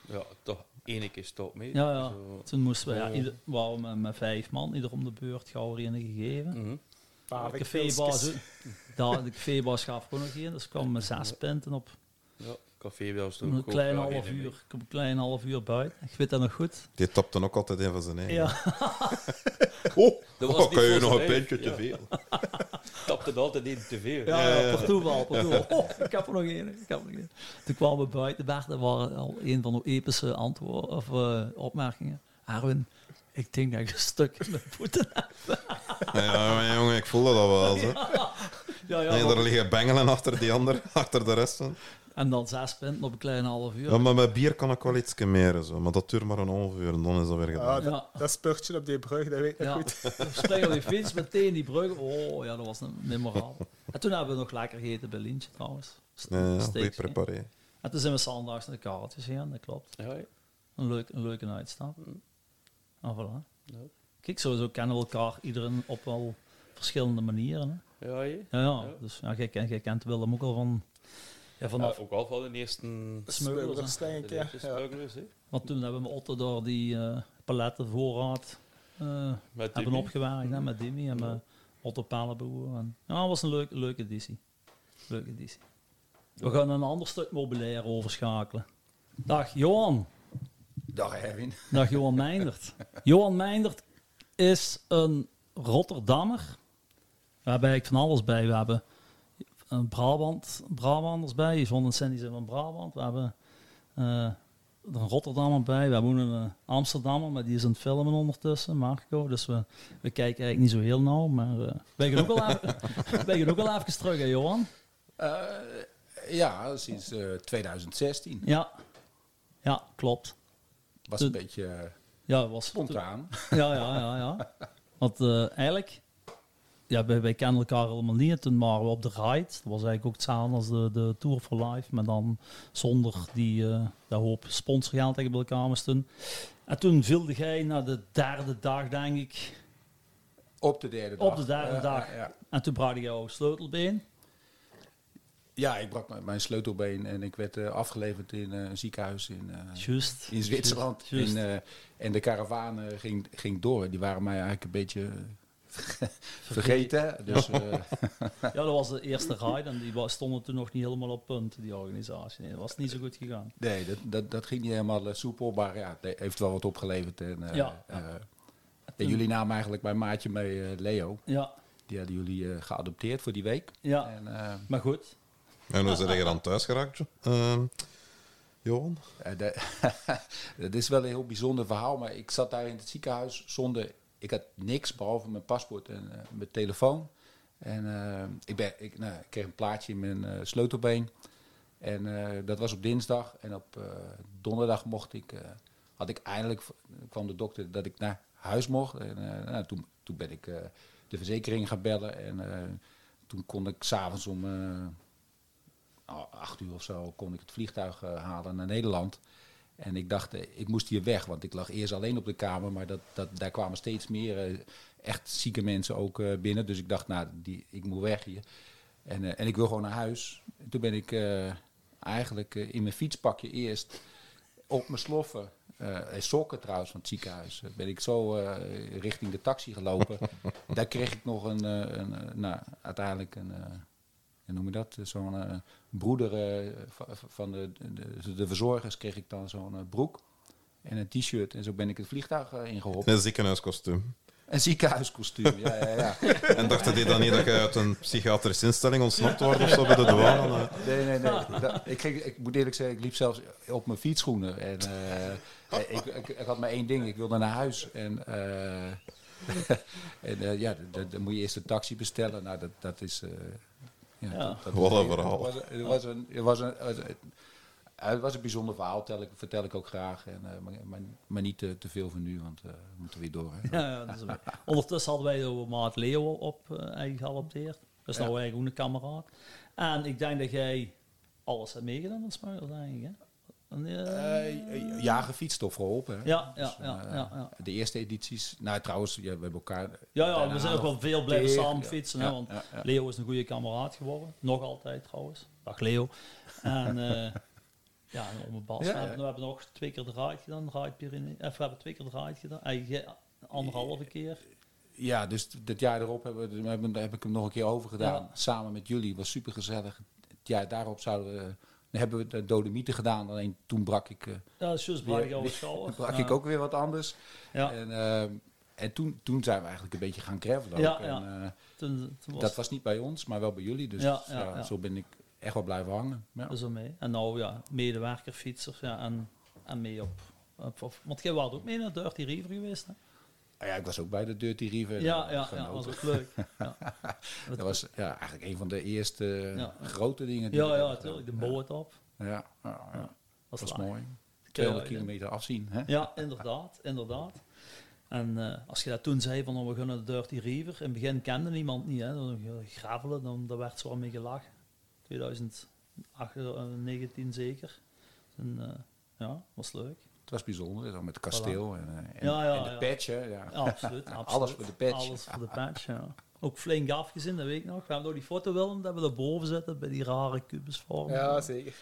Speaker 5: Ja, toch ene keer stop mee.
Speaker 1: Ja, ja.
Speaker 5: Zo.
Speaker 1: Toen moesten we, ja,
Speaker 5: Ja.
Speaker 1: ieder, waren we met, met vijf man, ieder om de beurt, gauw er een gegeven.
Speaker 5: Mhm.
Speaker 1: De
Speaker 7: Barbecues.
Speaker 1: cafébaas, ook. daar, de cafébaas gaf ook nog in, dus kwam met zes pinten op
Speaker 5: Ja, café bij ons toen
Speaker 1: een
Speaker 5: ook
Speaker 1: klein
Speaker 5: wel
Speaker 1: half
Speaker 5: heen en
Speaker 1: uur. Ik kom een klein half uur buiten. Ik weet dat nog goed.
Speaker 2: Die tapte ook altijd een van zijn eigen.
Speaker 1: Ja.
Speaker 2: Oh,
Speaker 5: Dat
Speaker 2: oh,
Speaker 5: was niet
Speaker 2: kan je
Speaker 5: voor
Speaker 2: nog een
Speaker 5: zijn
Speaker 2: pintje te
Speaker 5: eigen,
Speaker 2: veel?
Speaker 5: weer. Tapte er altijd niet te veel.
Speaker 1: Ja, ja, per toeval, per toeval. Oh, ik heb er nog één, ik heb er nog één. Toen kwamen we buiten, Bert, dat waren al een van de epische antwoorden of eh, opmerkingen. Arwin, ik denk dat ik een stuk in mijn voeten heb.
Speaker 2: Ja, maar jongen, ik voelde dat wel. Zo.
Speaker 1: Ja, ja,
Speaker 2: Nee,
Speaker 1: maar-
Speaker 2: er liggen bengelen achter die ander, achter de rest. van.
Speaker 1: En dan zes punten op een klein half uur.
Speaker 2: Ja, maar met bier kan ik wel iets meer, zo. maar dat duurt maar een half uur en dan is dat weer gedaan.
Speaker 7: Ja, dat,
Speaker 1: Ja.
Speaker 7: dat spurtje op die brug, dat weet ik
Speaker 1: Ja,
Speaker 7: nog goed.
Speaker 1: we springen op die fiets, meteen die brug. Oh, ja, dat was een memorabel. En toen hebben we nog lekker gegeten bij Lintje, trouwens. S-
Speaker 2: Ja, ja,
Speaker 1: steaks,
Speaker 2: goed
Speaker 1: hè.
Speaker 2: preparé.
Speaker 1: En toen zijn we zondags naar de kaartjes gegaan, dat klopt.
Speaker 5: Ja, ja.
Speaker 1: Een, leuk, een leuke uitstap. En voilà.
Speaker 5: Mm. Ja.
Speaker 1: Kijk, sowieso kennen we elkaar iedereen op wel verschillende manieren. Hè.
Speaker 5: Ja, je?
Speaker 1: Ja, ja.
Speaker 5: Ja.
Speaker 1: Dus ja, jij, kent- jij kent Willem ook al van... Ja, vanaf...
Speaker 5: Ja, ook al van de eerste
Speaker 1: Smuggelers,
Speaker 7: Smugglers, denk ik.
Speaker 5: de
Speaker 7: Ja.
Speaker 5: eerste
Speaker 7: Ja.
Speaker 5: smugglers, hè.
Speaker 1: Want toen hebben we Otto door die eh, palettenvoorraad eh,
Speaker 5: Met
Speaker 1: hebben
Speaker 5: die
Speaker 1: opgewerkt hè, met Dimi en met Otto Pelleboer. En, ja, dat was een leuke, leuke editie. Leuke editie. We gaan een ander stuk meubilair overschakelen. Dag Johan.
Speaker 8: Dag Erwin.
Speaker 1: Dag Johan Meindert. Johan Meindert is een Rotterdammer. Waarbij ik van alles bij. We hebben een Brabant, Brabanders bij. Van een Sandy zijn van Brabant. We hebben eh, een Rotterdammer bij. We hebben ook een eh, Amsterdammer, maar die is aan het filmen ondertussen, Marco. Dus we, we kijken eigenlijk niet zo heel nauw. Maar eh wij, gaan ook al even, wij gaan ook al even terug, hè, Johan?
Speaker 8: Eh, ja, sinds eh, 2016.
Speaker 1: Ja. Ja, klopt.
Speaker 8: Was
Speaker 1: De-
Speaker 8: een beetje eh,
Speaker 1: Ja, was
Speaker 8: spontaan.
Speaker 1: Ja, ja, ja, ja. Want eh, eigenlijk, ja, wij, wij kennen elkaar helemaal niet. En Toen waren we op de ride. Dat was eigenlijk ook hetzelfde als de, de Tour for Life. Maar dan zonder die eh dat hoop sponsorgeld tegen elkaar moesten. En toen viel jij naar de derde dag, denk ik.
Speaker 8: Op de derde dag.
Speaker 1: Op de derde
Speaker 8: Ja,
Speaker 1: dag.
Speaker 8: Ja, ja.
Speaker 1: En toen bracht je jouw sleutelbeen.
Speaker 8: Ja, ik brak mijn- mijn sleutelbeen en ik werd eh, afgeleverd in eh, een ziekenhuis in, eh,
Speaker 1: Juist.
Speaker 8: in Zwitserland.
Speaker 1: Juist, juist.
Speaker 8: En, eh, en de karavaan eh, ging, ging door. Die waren mij eigenlijk een beetje eh, vergeten. Dus eh,
Speaker 1: Ja, dat was de eerste ride. En die wa- stonden toen nog niet helemaal op punt, die organisatie. Nee, dat was niet zo goed gegaan.
Speaker 8: nee, dat, dat, dat ging niet helemaal eh, soepel. Maar ja, het heeft wel wat opgeleverd. En, eh,
Speaker 1: Ja.
Speaker 8: eh, en jullie namen eigenlijk mijn maatje mee, eh, Leo.
Speaker 1: Ja,
Speaker 8: Die hadden jullie eh, geadopteerd voor die week.
Speaker 1: ja.
Speaker 8: En, eh,
Speaker 1: Maar goed.
Speaker 2: En hoe zijn je dan thuis geraakt, Jo- ehm, Johan?
Speaker 8: Eh, de- dat is wel een heel bijzonder verhaal, maar ik zat daar in het ziekenhuis zonder. Ik had niks behalve mijn paspoort en eh, mijn telefoon. En eh, ik, ben, ik, nou, ik kreeg een plaatje in mijn eh, sleutelbeen. En eh, dat was op dinsdag. En op eh, donderdag mocht ik, eh, had ik eindelijk, kwam de dokter dat ik naar huis mocht. En eh, nou, toen, toen ben ik eh, de verzekering gaan bellen. En eh, toen kon ik s'avonds om eh, oh, acht uur of zo kon ik het vliegtuig eh, halen naar Nederland. En ik dacht, eh, ik moest hier weg, want ik lag eerst alleen op de kamer. Maar dat, dat, daar kwamen steeds meer eh, echt zieke mensen ook eh, binnen. Dus ik dacht, nou, die, ik moet weg hier. En, eh, en ik wil gewoon naar huis. En toen ben ik eh, eigenlijk eh, in mijn fietspakje eerst op mijn sloffen. eh, en sokken trouwens van het ziekenhuis. eh, Ben ik zo eh, richting de taxi gelopen. Daar kreeg ik nog een, eh, een eh, nou, uiteindelijk een, eh, hoe noem je dat? Zo'n eh, broeder eh, va- va- van de, de, de verzorgers kreeg ik dan zo'n eh, broek en een t-shirt. En zo ben ik het vliegtuig eh, ingehopt.
Speaker 2: In een ziekenhuiskostuum.
Speaker 8: Een ziekenhuiskostuum, ja, ja, ja.
Speaker 2: En dachten die dan niet dat je uit een psychiatrische instelling ontsnapt wordt of zo bij de douane? Eh,
Speaker 8: Nee, nee, nee. Dat- ik, ging, ik moet eerlijk zeggen, ik liep zelfs op mijn fietsschoenen. En, eh, ik, ik, ik had maar één ding, ik wilde naar huis. En, eh, en eh, ja, d- d- dan moet je eerst een taxi bestellen. Nou, dat, dat is... eh, ja,
Speaker 1: Ja.
Speaker 8: dat- dat-
Speaker 2: Wat een verhaal.
Speaker 8: Het was, het was een... Het was een, het was een het was een bijzonder verhaal, tel ik, vertel ik ook graag. En, eh, maar, maar, maar niet te, te veel van nu, want eh, we moeten weer door. Hè.
Speaker 1: Ja, ja, dat is waar. Ondertussen hadden wij de maat Leo op eh, eigenlijk geadopteerd. Dat is nou eigenlijk ook een kameraad. En ik denk dat jij alles hebt meegedaan met Smugglers eigenlijk, hè? En, eh,
Speaker 8: Eh, ja, gefietst of geholpen. hè.
Speaker 1: ja, ja,
Speaker 8: Dus,
Speaker 1: ja,
Speaker 8: eh,
Speaker 1: ja, ja.
Speaker 8: De eerste edities. Nou, trouwens, ja, we hebben elkaar. eh,
Speaker 1: Ja, ja,
Speaker 8: daarna
Speaker 1: we zijn ook wel
Speaker 8: nog
Speaker 1: veel blijven
Speaker 8: keer-
Speaker 1: samen
Speaker 8: ja,
Speaker 1: fietsen,
Speaker 8: ja,
Speaker 1: hè, want
Speaker 8: ja, ja.
Speaker 1: Leo is een goede kameraad geworden. Nog altijd trouwens. Dag Leo. En eh, ja, en om een bas.
Speaker 8: Ja,
Speaker 1: we,
Speaker 8: ja.
Speaker 1: hebben, we hebben nog twee keer de ride gedaan. Ride Pyrenee- of we hebben twee keer de ride gedaan. Eigenlijk eh, anderhalve keer.
Speaker 8: Ja, dus t- dat jaar erop hebben, we- hebben, heb ik hem nog een keer overgedaan.
Speaker 1: Ja.
Speaker 8: Samen met jullie. Was super gezellig. Het jaar daarop zouden we, hebben we de Dodemieten gedaan. Alleen toen brak ik, eh,
Speaker 1: Ja, dat is juist
Speaker 8: Weer-
Speaker 1: Braga over
Speaker 8: weer-
Speaker 1: schouder.
Speaker 8: brak
Speaker 1: Ja.
Speaker 8: ik ook weer wat anders.
Speaker 1: Ja,
Speaker 8: En, ehm, en toen, toen zijn we eigenlijk een beetje gaan gravelen. ook.
Speaker 1: Ja,
Speaker 8: en,
Speaker 1: ja.
Speaker 8: eh,
Speaker 1: toen, toen was
Speaker 8: dat was niet bij ons, maar wel bij jullie. Dus
Speaker 1: Ja,
Speaker 8: ja,
Speaker 1: ja, ja.
Speaker 8: zo ben ik echt wel blijven hangen. Ja.
Speaker 1: Zo mee. En nou ja, medewerker, fietser ja, en, en mee op, op, op- Want jij was ook mee naar Dirty River geweest. Hè?
Speaker 8: Ah ja, ik was ook bij de Dirty River.
Speaker 1: Ja, ja, ja,
Speaker 8: Genoten.
Speaker 1: was ook leuk. Ja,
Speaker 8: Dat was ja, eigenlijk een van de eerste
Speaker 1: Ja.
Speaker 8: grote dingen.
Speaker 1: ja,
Speaker 8: ik heb
Speaker 1: ja
Speaker 8: gedaan.
Speaker 1: natuurlijk. De boot op.
Speaker 8: Ja, ja, ja, ja.
Speaker 1: Dat is
Speaker 8: dat was
Speaker 1: laag.
Speaker 8: mooi.
Speaker 1: Terwijl
Speaker 8: 200
Speaker 1: je-
Speaker 8: kilometer afzien. Hè?
Speaker 1: Ja, inderdaad, inderdaad. En eh, als je dat toen zei, van oh, we gaan naar de Dirty River. In het begin kende niemand niet. Hè? Dan eh, gravelen, dan, daar werd zwaar mee gelachen. 2019 zeker. En, eh, ja, was leuk.
Speaker 8: Het was bijzonder, dan met het kasteel en, eh, en,
Speaker 1: Ja, ja,
Speaker 8: en de
Speaker 1: ja.
Speaker 8: patch. Hè, ja.
Speaker 1: Ja, absoluut, absoluut.
Speaker 8: Alles voor de patch.
Speaker 1: Alles voor de patch, ja. Ook flink afgezien, dat weet ik nog. We hebben door die foto Willem, dat we daarboven zitten bij die rare kubusvorm.
Speaker 7: Ja, zeker.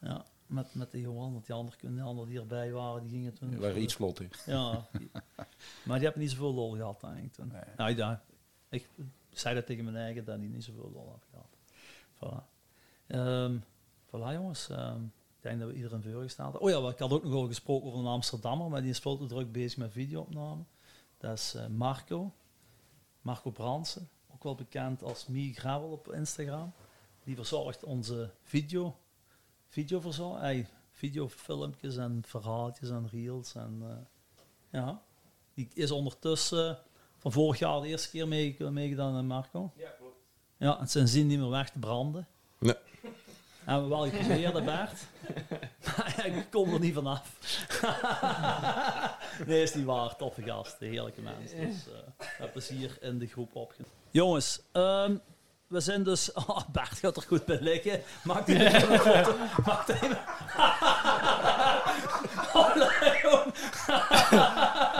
Speaker 1: Ja, met, met die Johan, want die anderen die ander die erbij waren, die gingen toen...
Speaker 8: Er waren iets vlot in.
Speaker 1: Ja. die- maar die hebben niet zoveel lol gehad eigenlijk toen.
Speaker 8: Nee.
Speaker 1: Nou, ja, ik zei dat tegen mijn eigen, dat die niet zoveel lol had gehad. Voilà. Ehm, voilà jongens. Ehm, ik denk dat we iedereen voor gestaan hebben. Oh ja, wat ik had ook nog over gesproken over een Amsterdammer, maar die is veel te druk bezig met videoopname. Dat is eh, Marco. Marco Bransen. Ook wel bekend als Mie Gravel op Instagram. Die verzorgt onze video. Video verzorgt. Videofilmpjes en verhaaltjes en reels en... eh, ja. Die is ondertussen eh, van vorig jaar de eerste keer mee- meegedaan aan Marco. Ja, klopt. Ja, en sindsdien niet meer weg te branden.
Speaker 2: Nee.
Speaker 1: Hebben we wel geprobeerd, hè, Bert. Maar ik kom er niet vanaf. nee, is niet waar. Toffe gasten, heerlijke mensen. Dus eh, heb plezier in de groep opgenomen. Jongens, ehm, we zijn dus... Oh, Bert gaat er goed bij liggen. Maakt hij even een foto? Maakt hij even... Oh, Leon.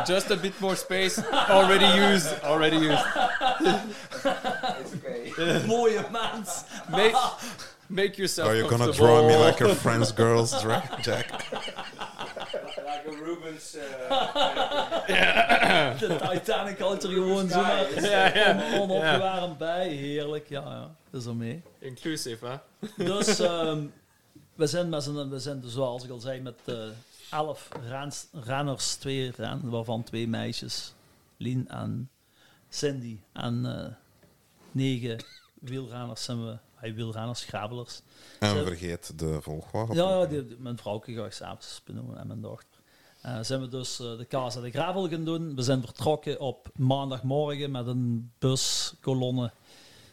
Speaker 6: Just a bit more space. Already used. Already used.
Speaker 1: Mooie mens.
Speaker 6: Make, make yourself
Speaker 2: Are you gonna draw
Speaker 6: comfortable.
Speaker 2: me like a French girl's dra- jack?
Speaker 6: Like a Rubens.
Speaker 1: De Titanic houdt er gewoon zo maar on- onopgewarmd bij. Heerlijk, ja. ja. Dat is er mee.
Speaker 6: Inclusive, hè?
Speaker 1: Dus ehm, we, zijn met z'n- we zijn dus, zoals ik al zei, met eh, elf rens- renners, twee ren, waarvan twee meisjes, Lien en Cindy. En eh, negen wielrenners zijn we, hij wielrenners, gravelers.
Speaker 2: En vergeet de volgorde.
Speaker 1: Ja, ja die, die- mijn vrouwke ga ik s'avonds benoemen en mijn dochter. Eh, zijn we dus eh, de kaas en de gravel gaan doen. We zijn vertrokken op maandagmorgen met een buskolonne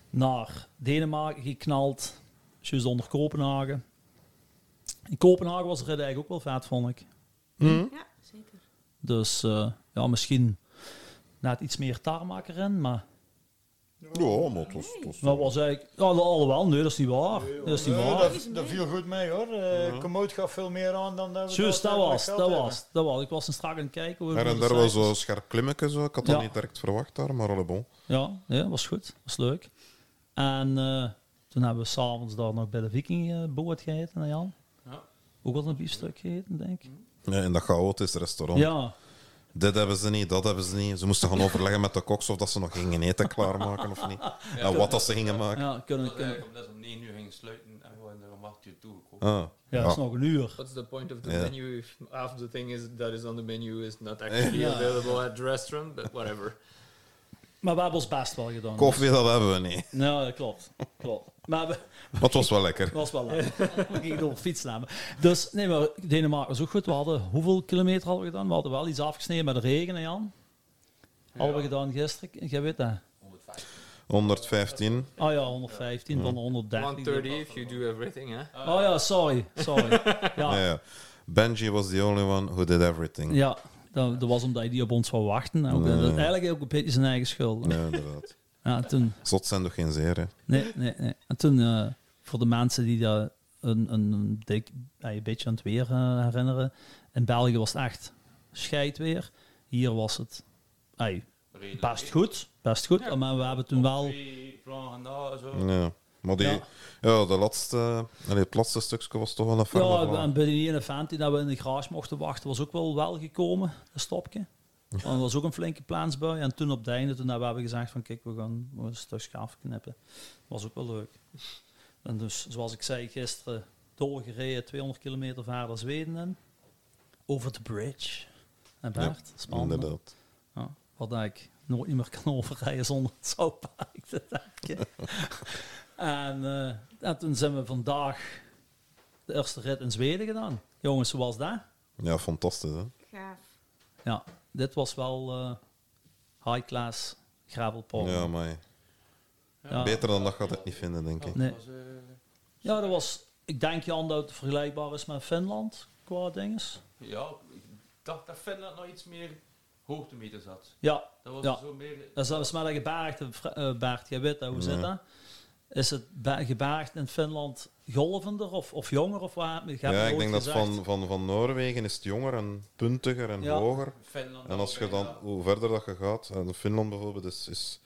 Speaker 1: naar Denemarken geknald. Juist onder Kopenhagen. In Kopenhagen was de rit eigenlijk ook wel vet, vond ik.
Speaker 4: Ja, zeker.
Speaker 1: Dus eh, ja, misschien net iets meer tarmac erin, maar
Speaker 2: Ja, maar het was... het was-
Speaker 1: dat was eigenlijk... Ja, alhoewel, nee, dat is niet waar. dat is niet
Speaker 3: Nee,
Speaker 1: waar.
Speaker 3: dat, dat viel goed mee hoor. Eh Komoot gaf veel meer aan dan dat we
Speaker 1: Juist, dat
Speaker 3: uiteindelijk
Speaker 1: was,
Speaker 3: geld
Speaker 1: dat
Speaker 3: hebben.
Speaker 1: was, dat was. Ik was een strak aan het kijken. hoe
Speaker 2: Her en
Speaker 1: de
Speaker 2: daar wel
Speaker 1: cijfers-
Speaker 2: zo scherp klimmetje zo. Ik had dat
Speaker 1: Ja.
Speaker 2: niet direct verwacht daar, maar alle bon.
Speaker 1: Ja, ja, was goed. Was leuk. En eh, toen hebben we s'avonds daar nog bij de Viking eh boord gegeten, hè, Jan.
Speaker 5: Ja.
Speaker 1: Ook wel een biefstuk gegeten, denk ik.
Speaker 2: Ja, in dat chaotisch restaurant.
Speaker 1: Ja,
Speaker 2: Dit hebben ze niet, dat hebben ze niet. Ze moesten gaan overleggen met de koks of dat ze nog gingen eten klaarmaken of niet. en wat dat ze gingen maken.
Speaker 1: ja, kunnen, kunnen.
Speaker 5: Eigenlijk omdat ze om 9 uur gingen sluiten en gewoon er om 8 uur toegekomen.
Speaker 2: Ah,
Speaker 1: Ja, dat is nog een uur.
Speaker 9: What's the point of the
Speaker 2: Yeah.
Speaker 9: menu if half the thing is that is on the menu is not actually
Speaker 1: Yeah.
Speaker 9: available at the restaurant? But whatever.
Speaker 1: Maar we hebben ons best wel gedaan.
Speaker 2: Koffie, dat hebben we niet.
Speaker 1: Nou, dat klopt. klopt. Maar we,
Speaker 2: Maar het was wel lekker.
Speaker 1: was wel leuk. We gingen door fiets namen. Dus, nee, maar Denemarken was ook goed. We hadden hoeveel kilometer hadden we gedaan? We hadden wel iets afgesneden met de regen, hè, Jan. Hadden we gedaan gisteren? Jij weet dat.
Speaker 2: 115.
Speaker 1: Oh ja, 115, dan 130.
Speaker 9: 130 if you do everything, huh?
Speaker 1: Oh ja, sorry. Sorry. Ja.
Speaker 2: Ja, ja. Benji was the only one who did everything.
Speaker 1: Ja, dat, dat was omdat hij die op ons wou wachten. En ook,
Speaker 2: Nee.
Speaker 1: dat is eigenlijk ook een beetje zijn eigen schuld.
Speaker 2: Ja, inderdaad.
Speaker 1: Ja, toen,
Speaker 2: Zot zijn toch geen zeer, hè?
Speaker 1: nee, nee, nee. En toen, eh, voor de mensen die dat een, een, een, dik- ja, een beetje aan het weer eh, herinneren. In België was het echt scheidweer. Hier was het ey,
Speaker 5: Redelijk.
Speaker 1: best goed. Best goed. Maar we hebben toen wel...
Speaker 5: Koffie, plan, nou, zo.
Speaker 2: Ja. Maar die, ja.
Speaker 1: Ja.
Speaker 2: de laatste, allee, het laatste stukje was toch wel een ferme
Speaker 1: Ja,
Speaker 2: vlaag.
Speaker 1: en bij die ene vent die dat we in de garage mochten wachten, was ook wel wel gekomen, een stopje. Want er was ook een flinke plaatsbui. En toen op het einde, toen hebben we gezegd van kijk, we gaan we gaan een stukje afknippen. Was ook wel leuk. En dus, zoals ik zei gisteren, doorgereden, 200 kilometer verder Zweden in. Over de bridge. En
Speaker 2: Ja,
Speaker 1: Bert, spannend. hè?
Speaker 2: Inderdaad.
Speaker 1: Ja, wat dat ik nooit meer kan overrijden zonder het zoutpaak te denken. en, eh, en toen zijn we vandaag de eerste rit in Zweden gedaan. Jongens, hoe was dat?
Speaker 2: Ja, fantastisch, hè?
Speaker 4: Gaaf.
Speaker 1: Ja, dit was wel eh, high class gravelporn.
Speaker 2: Ja, maar
Speaker 1: Ja.
Speaker 2: beter dan dat gaat het niet vinden, denk ik.
Speaker 1: Nee.
Speaker 5: Dat was, eh,
Speaker 1: ja, dat was... Ik denk, Jan, dat het vergelijkbaar is met Finland qua dinges.
Speaker 5: ja, ik dacht dat Finland nog iets meer hoogtemeters had.
Speaker 1: Ja,
Speaker 5: Dat was
Speaker 1: Ja.
Speaker 5: zo meer...
Speaker 1: dat is dat is met een gebergte, vra- eh, Bert. Jij weet dat, hoe zit
Speaker 2: Ja.
Speaker 1: dat? Is het be- gebergte in Finland golvender of, of jonger? Of wat? Je hebt
Speaker 2: Ja,
Speaker 1: me
Speaker 2: ik
Speaker 1: ooit
Speaker 2: denk dat
Speaker 1: gezegd.
Speaker 2: van, van, van Noorwegen is het jonger en puntiger en
Speaker 1: Ja.
Speaker 2: hoger.
Speaker 5: Finland
Speaker 2: En als je
Speaker 5: ook,
Speaker 2: dan,
Speaker 5: ja.
Speaker 2: hoe verder dat je gaat, en Finland bijvoorbeeld is, is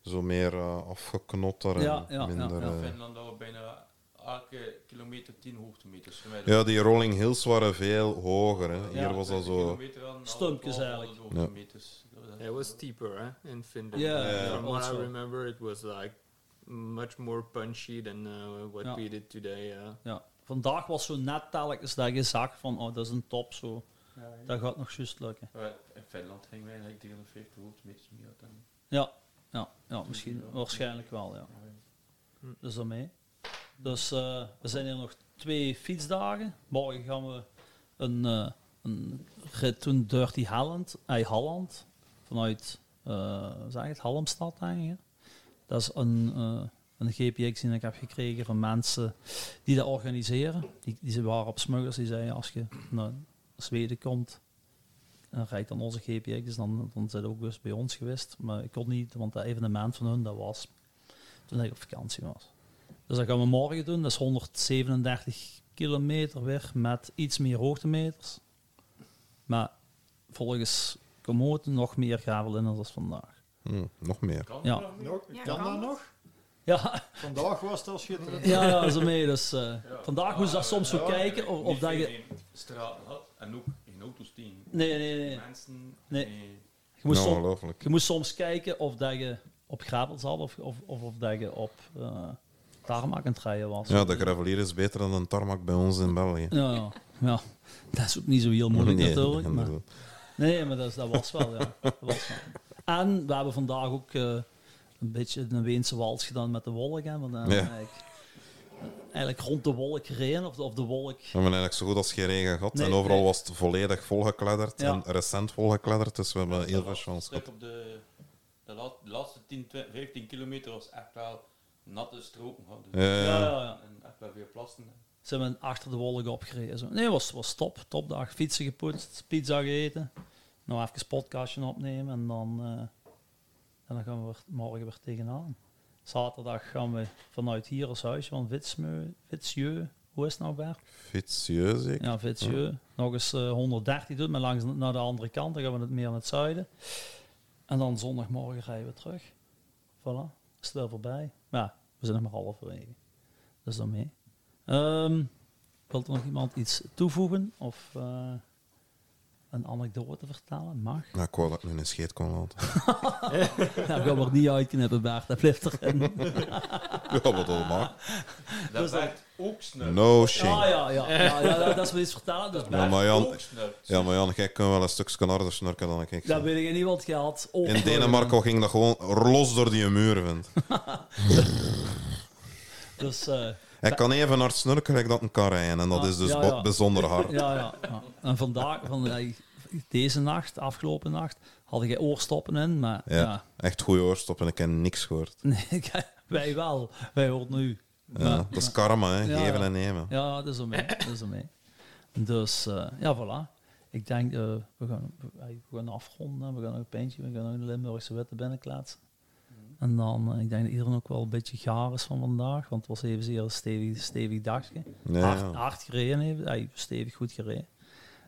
Speaker 2: Zo meer eh, afgeknotter en
Speaker 1: Ja, ja,
Speaker 2: minder...
Speaker 1: ja,
Speaker 2: eh,
Speaker 9: Finland dat we bijna elke kilometer 10 hoogtemeters gemiddeld.
Speaker 2: Ja, die rolling hills waren veel hoger. Hè. Hier
Speaker 1: Ja.
Speaker 2: was dat zo.
Speaker 1: Stumpjes eigenlijk.
Speaker 9: Hoogtemeters. Dat was echt
Speaker 7: It was steeper, eh?
Speaker 9: in Finland.
Speaker 1: Yeah,
Speaker 9: Uh,
Speaker 2: yeah,
Speaker 9: From what
Speaker 1: also.
Speaker 9: I remember, it was like much more punchy than uh, what
Speaker 1: Yeah.
Speaker 9: we did today. Yeah.
Speaker 1: Ja. Vandaag was zo net telkens dat je zag van, oh, dat is een top, zo. Dat gaat nog juist lukken.
Speaker 9: Maar in Finland gingen wij eigenlijk 350 hoogtemeters meer dan.
Speaker 1: Ja, ja, ja misschien, waarschijnlijk wel, ja. Dus daarmee. Dus eh, we zijn hier nog twee fietsdagen. Morgen gaan we een, eh een rit doen Dirty Holland, eh, Holland, vanuit, eh hoe zeg je het, Halmstad eigenlijk. hè? Dat is een, eh, een GPX die ik heb gekregen van mensen die dat organiseren. Die, die waren op smuggers, die zeiden als je naar Zweden komt, en rijdt dan onze GPX, dan, dan zijn ze ook dus bij ons geweest. Maar ik kon niet, want dat evenement van hun, dat was toen ik op vakantie was. Dus dat gaan we morgen doen. Dat is 137 kilometer weg met iets meer hoogtemeters. Maar volgens Komoten nog meer gravel in dan vandaag.
Speaker 2: Hm, nog meer.
Speaker 1: Ja,
Speaker 3: Nog?
Speaker 4: Ja,
Speaker 3: kan
Speaker 4: kan
Speaker 3: dat
Speaker 4: het?
Speaker 3: nog?
Speaker 1: ja,
Speaker 3: Vandaag was het al schitterend.
Speaker 1: ja, ja zo mee. Dus, eh, vandaag moest je dat soms zo kijken. Of, of
Speaker 9: Niet
Speaker 1: dat je,
Speaker 9: iedereen straat had en ook geen auto's tegen.
Speaker 1: nee, nee, nee.
Speaker 9: Mensen.
Speaker 1: Nee.
Speaker 9: eh,
Speaker 1: Je moest, soms,
Speaker 2: ongelooflijk.
Speaker 1: je moest soms kijken of dat je op gravel zat of, of, of, of dat je op eh tarmac aan het rijden was.
Speaker 2: Ja, de gravelier is beter dan een tarmac bij ons in België.
Speaker 1: Ja, ja. ja. dat is ook niet zo heel moeilijk
Speaker 2: Nee,
Speaker 1: natuurlijk. Maar,
Speaker 2: inderdaad.
Speaker 1: nee, maar dat, is- dat was wel, ja. Dat was wel. En we hebben vandaag ook eh, een beetje een Weense wals gedaan met de wolk. Hè, want dan
Speaker 2: Ja.
Speaker 1: eigenlijk, eigenlijk rond de wolk gereden, of, of de wolk...
Speaker 2: We hebben eigenlijk zo goed als geen regen gehad.
Speaker 1: Nee,
Speaker 2: en overal
Speaker 1: nee.
Speaker 2: was het volledig volgekledderd.
Speaker 1: Ja.
Speaker 2: En recent volgekledderd. Dus we hebben heel
Speaker 9: Dat
Speaker 2: veel
Speaker 9: was
Speaker 2: chance
Speaker 9: terug
Speaker 2: gehad.
Speaker 9: op de, de, laat- de laatste 10, 20, 15 kilometer was echt wel natte stroken houden.
Speaker 2: Ja, ja,
Speaker 1: Ja,
Speaker 2: ja.
Speaker 1: ja, ja.
Speaker 9: En echt wel veel plassen.
Speaker 1: Zijn we achter de wolk opgereden. Zo. Nee, het was, was top. Topdag. Fietsen gepoetst, pizza gegeten. Nog even een podcastje opnemen en dan, eh, en dan gaan we er morgen weer tegenaan. Zaterdag gaan we vanuit hier als huisje van Witsmeu, Witsjeu. Hoe is het nou, Bert?
Speaker 2: Fietieus, ik.
Speaker 1: Ja, Vitsjeu. Nog eens eh, 130 doen, maar langs naar de andere kant. Dan gaan we het meer naar het zuiden. En dan zondagmorgen rijden we terug. Voilà, is het wel voorbij. Maar ja, we zijn nog maar halverwege. Dus dan mee. Ehm, wilt er nog iemand iets toevoegen? Of eh, een anekdote vertellen? Mag.
Speaker 2: Nou, ik wou dat ik nu een scheet kon laten.
Speaker 1: Dat gaan we er niet uitknippen, Bert. Dat blijft erin.
Speaker 2: ja, wat dat mag.
Speaker 9: Dat werd ook snel.
Speaker 2: No
Speaker 1: Ah,
Speaker 2: shame.
Speaker 1: ja, ja, ja, ja, dat- dat is wel iets vertellen. Dus
Speaker 2: Ja,
Speaker 1: Bert,
Speaker 2: maar Jan,
Speaker 9: Ook snel.
Speaker 2: ja, maar Jan jij kunt wel een stukje harder snurken dan ik.
Speaker 1: dat weet ik niet wat je had.
Speaker 2: In Denemarken ging dat gewoon los door die muren, vindt.
Speaker 1: Dus, eh,
Speaker 2: Hij kan even hard snurken gelijk dat hij kan rijden. En dat
Speaker 1: Ah,
Speaker 2: is dus
Speaker 1: ja, ja.
Speaker 2: wat bijzonder hard.
Speaker 1: Ja, ja. ja. En vandaag, van, eh, deze nacht, afgelopen nacht, had ik oorstoppen in, maar ja.
Speaker 2: Ja, echt goede oorstop en ik heb niks gehoord.
Speaker 1: Nee, ik- wij wel. Wij hoort nu.
Speaker 2: Ja, dat is karma, hè.
Speaker 1: Ja,
Speaker 2: geven
Speaker 1: ja.
Speaker 2: en nemen.
Speaker 1: Ja, dat is om mee. Dat is om mee. Dus eh, ja, voilà. Ik denk, eh, we, gaan, we gaan afronden, we gaan nog een pintje, we gaan nog een Limburgse wetten binnenkletsen. En dan, eh, ik denk dat iedereen ook wel een beetje gaar is van vandaag, want het was evenzeer een stevig, stevig dagje.
Speaker 2: Ja,
Speaker 1: hard,
Speaker 2: ja.
Speaker 1: hard gereden heeft, hij stevig goed gereden.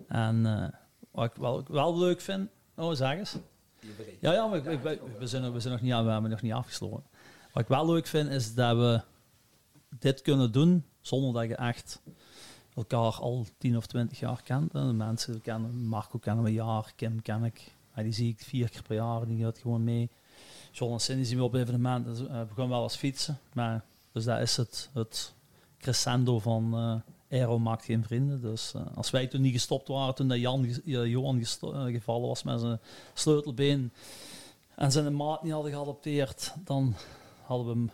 Speaker 1: En eh, wat ik wel, wel leuk vind, oh zeg eens. Ja, ja, maar ik- ik- we, we, zijn, nog- we, zijn nog niet, aan- we hebben nog niet afgesloten. Wat ik wel leuk vind, is dat we dit kunnen doen zonder dat je echt elkaar al 10 of 20 jaar kent. En de mensen kennen, Marco kennen we een jaar, Kim ken ik. Maar die zie ik vier keer per jaar, die gaat gewoon mee. John en Cindy zien we op evenementen, dus, eh, we gaan wel eens fietsen. Maar, dus dat is het, het crescendo van eh Aero maakt geen vrienden. Dus eh, als wij toen niet gestopt waren, toen dat Jan, ges- eh, Johan gesto- eh, gevallen was met zijn sleutelbeen en zijn maat niet hadden geadopteerd, dan hadden we hem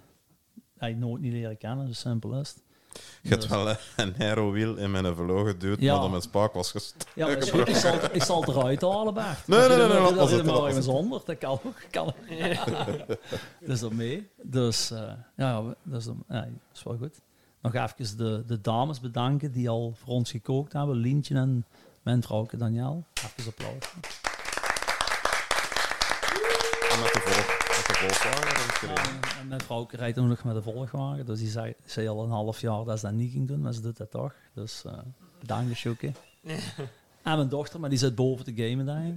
Speaker 1: eigenlijk nooit niet leren kennen, zo simpel is het.
Speaker 2: Je hebt wel een aerowiel in mijn vloog geduwd,
Speaker 1: Ja.
Speaker 2: maar dat mijn spaak was gestopt.
Speaker 1: Ja, maar is goed, ik, zal, het- ik zal het eruit halen, Bert.
Speaker 2: Nee, nee, nee, nee,
Speaker 1: Dat
Speaker 2: laat
Speaker 1: is
Speaker 2: maar zitten,
Speaker 1: helemaal
Speaker 2: laat maar
Speaker 1: even zonder. Dat kan ook. Kan ook. dus dat mee. Dus eh, ja, we- dat is, dan- ja, dat is wel goed. Nog even de, de dames bedanken die al voor ons gekookt hebben. Lientje en mijn vrouwke Daniel. Even applaus.
Speaker 2: En met de volk. Met de Volkswagen en gereden.
Speaker 1: En mijn vrouwke rijdt ook nog met de volgwagen. Dus die zei, zei al een half jaar dat ze dat niet ging doen. Maar ze doet dat toch. Dus eh bedankt, Sjoeke. En mijn dochter, maar die zit boven te gamen daar.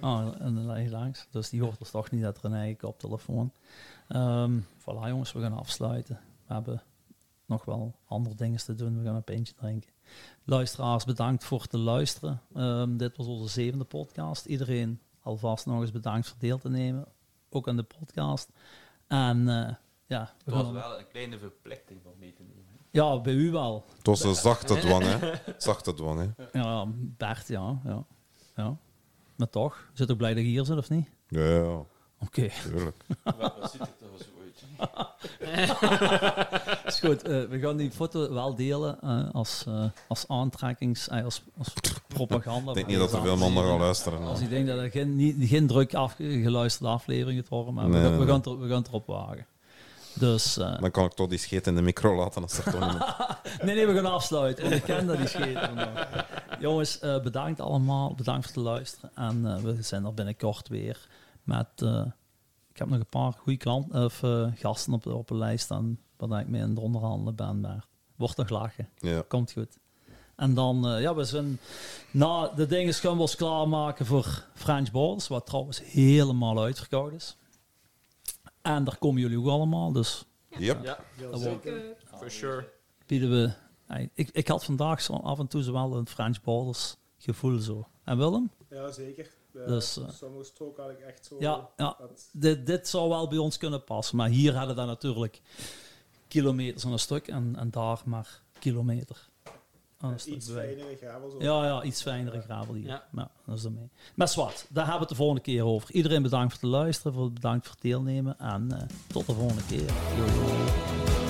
Speaker 1: oh, en dan lag je langs. Dus die hoort dus toch niet dat René ik op telefoon. Ehm voilà jongens, we gaan afsluiten. We hebben nog wel andere dingen te doen. We gaan een pintje drinken. Luisteraars, bedankt voor het luisteren. Ehm, dit was onze zevende podcast. Iedereen alvast nog eens bedankt voor deel te nemen. Ook aan de podcast. En eh, ja, we
Speaker 9: Het was
Speaker 1: gaan-
Speaker 9: wel een kleine verplichting om mee te nemen.
Speaker 1: ja, bij u wel.
Speaker 2: Het was een zachte dwang, hè. Zachte dwang, hè.
Speaker 1: Ja, Bert, ja. ja. ja. Maar toch, zit ook blij dat je hier zit, of niet?
Speaker 2: Ja, ja,
Speaker 1: Oké,
Speaker 2: tuurlijk.
Speaker 9: Wel, wat zit er toch zo uit?
Speaker 1: is goed. Eh, we gaan die foto wel delen eh, als, eh, als aantrekkings... eh, als, als propaganda.
Speaker 2: Ik denk niet dat er veel mannen gaan luisteren.
Speaker 1: Als
Speaker 2: hè.
Speaker 1: ik denk dat er geen, niet, geen druk afgeluisterde aflevering het worden, maar
Speaker 2: Nee,
Speaker 1: we, gaan- we,
Speaker 2: nee.
Speaker 1: gaan het er- we gaan het erop wagen. Dus... eh,
Speaker 2: Dan kan ik toch die scheet in de micro laten als er toch niet...
Speaker 1: Nee, nee, we gaan afsluiten. Want ik ken dat die scheet. vandaag. Jongens, eh, bedankt allemaal. Bedankt voor het luisteren. En eh, we zijn er binnenkort weer met... eh, ik heb nog een paar goede klanten, of, eh, gasten op, op een lijst staan... waar ik mee in het onderhandelen ben. Maar wordt nog lachen.
Speaker 2: Ja.
Speaker 1: Komt goed. En dan, eh, ja, we zijn na de dingen gaan we ons klaarmaken voor French Borders, wat trouwens helemaal uitverkoud is. En daar komen jullie ook allemaal, dus
Speaker 2: Yep.
Speaker 7: Ja,
Speaker 1: dat wordt-
Speaker 4: Zeker.
Speaker 7: for sure.
Speaker 1: bieden we. Hey, Ik, ik had vandaag zo af en toe zo wel een French Borders gevoel zo. En Willem?
Speaker 7: Ja, zeker. Eh,
Speaker 1: Dus, eh,
Speaker 7: sommige stroken had ik echt zo...
Speaker 1: Ja, ja.
Speaker 7: dat-
Speaker 1: Dit, dit zou wel bij ons kunnen passen, maar hier hadden we dan natuurlijk kilometers aan een stuk en, en daar maar kilometer aan een stuk.
Speaker 7: iets
Speaker 1: bij.
Speaker 7: fijnere gravel. Zo.
Speaker 1: Ja, ja, iets fijnere gravel hier. Ja.
Speaker 7: Ja.
Speaker 1: dat is ermee. Maar zwart, daar hebben we het de volgende keer over. Iedereen bedankt voor het luisteren, voor, bedankt voor het deelnemen en eh, tot de volgende keer. Doei.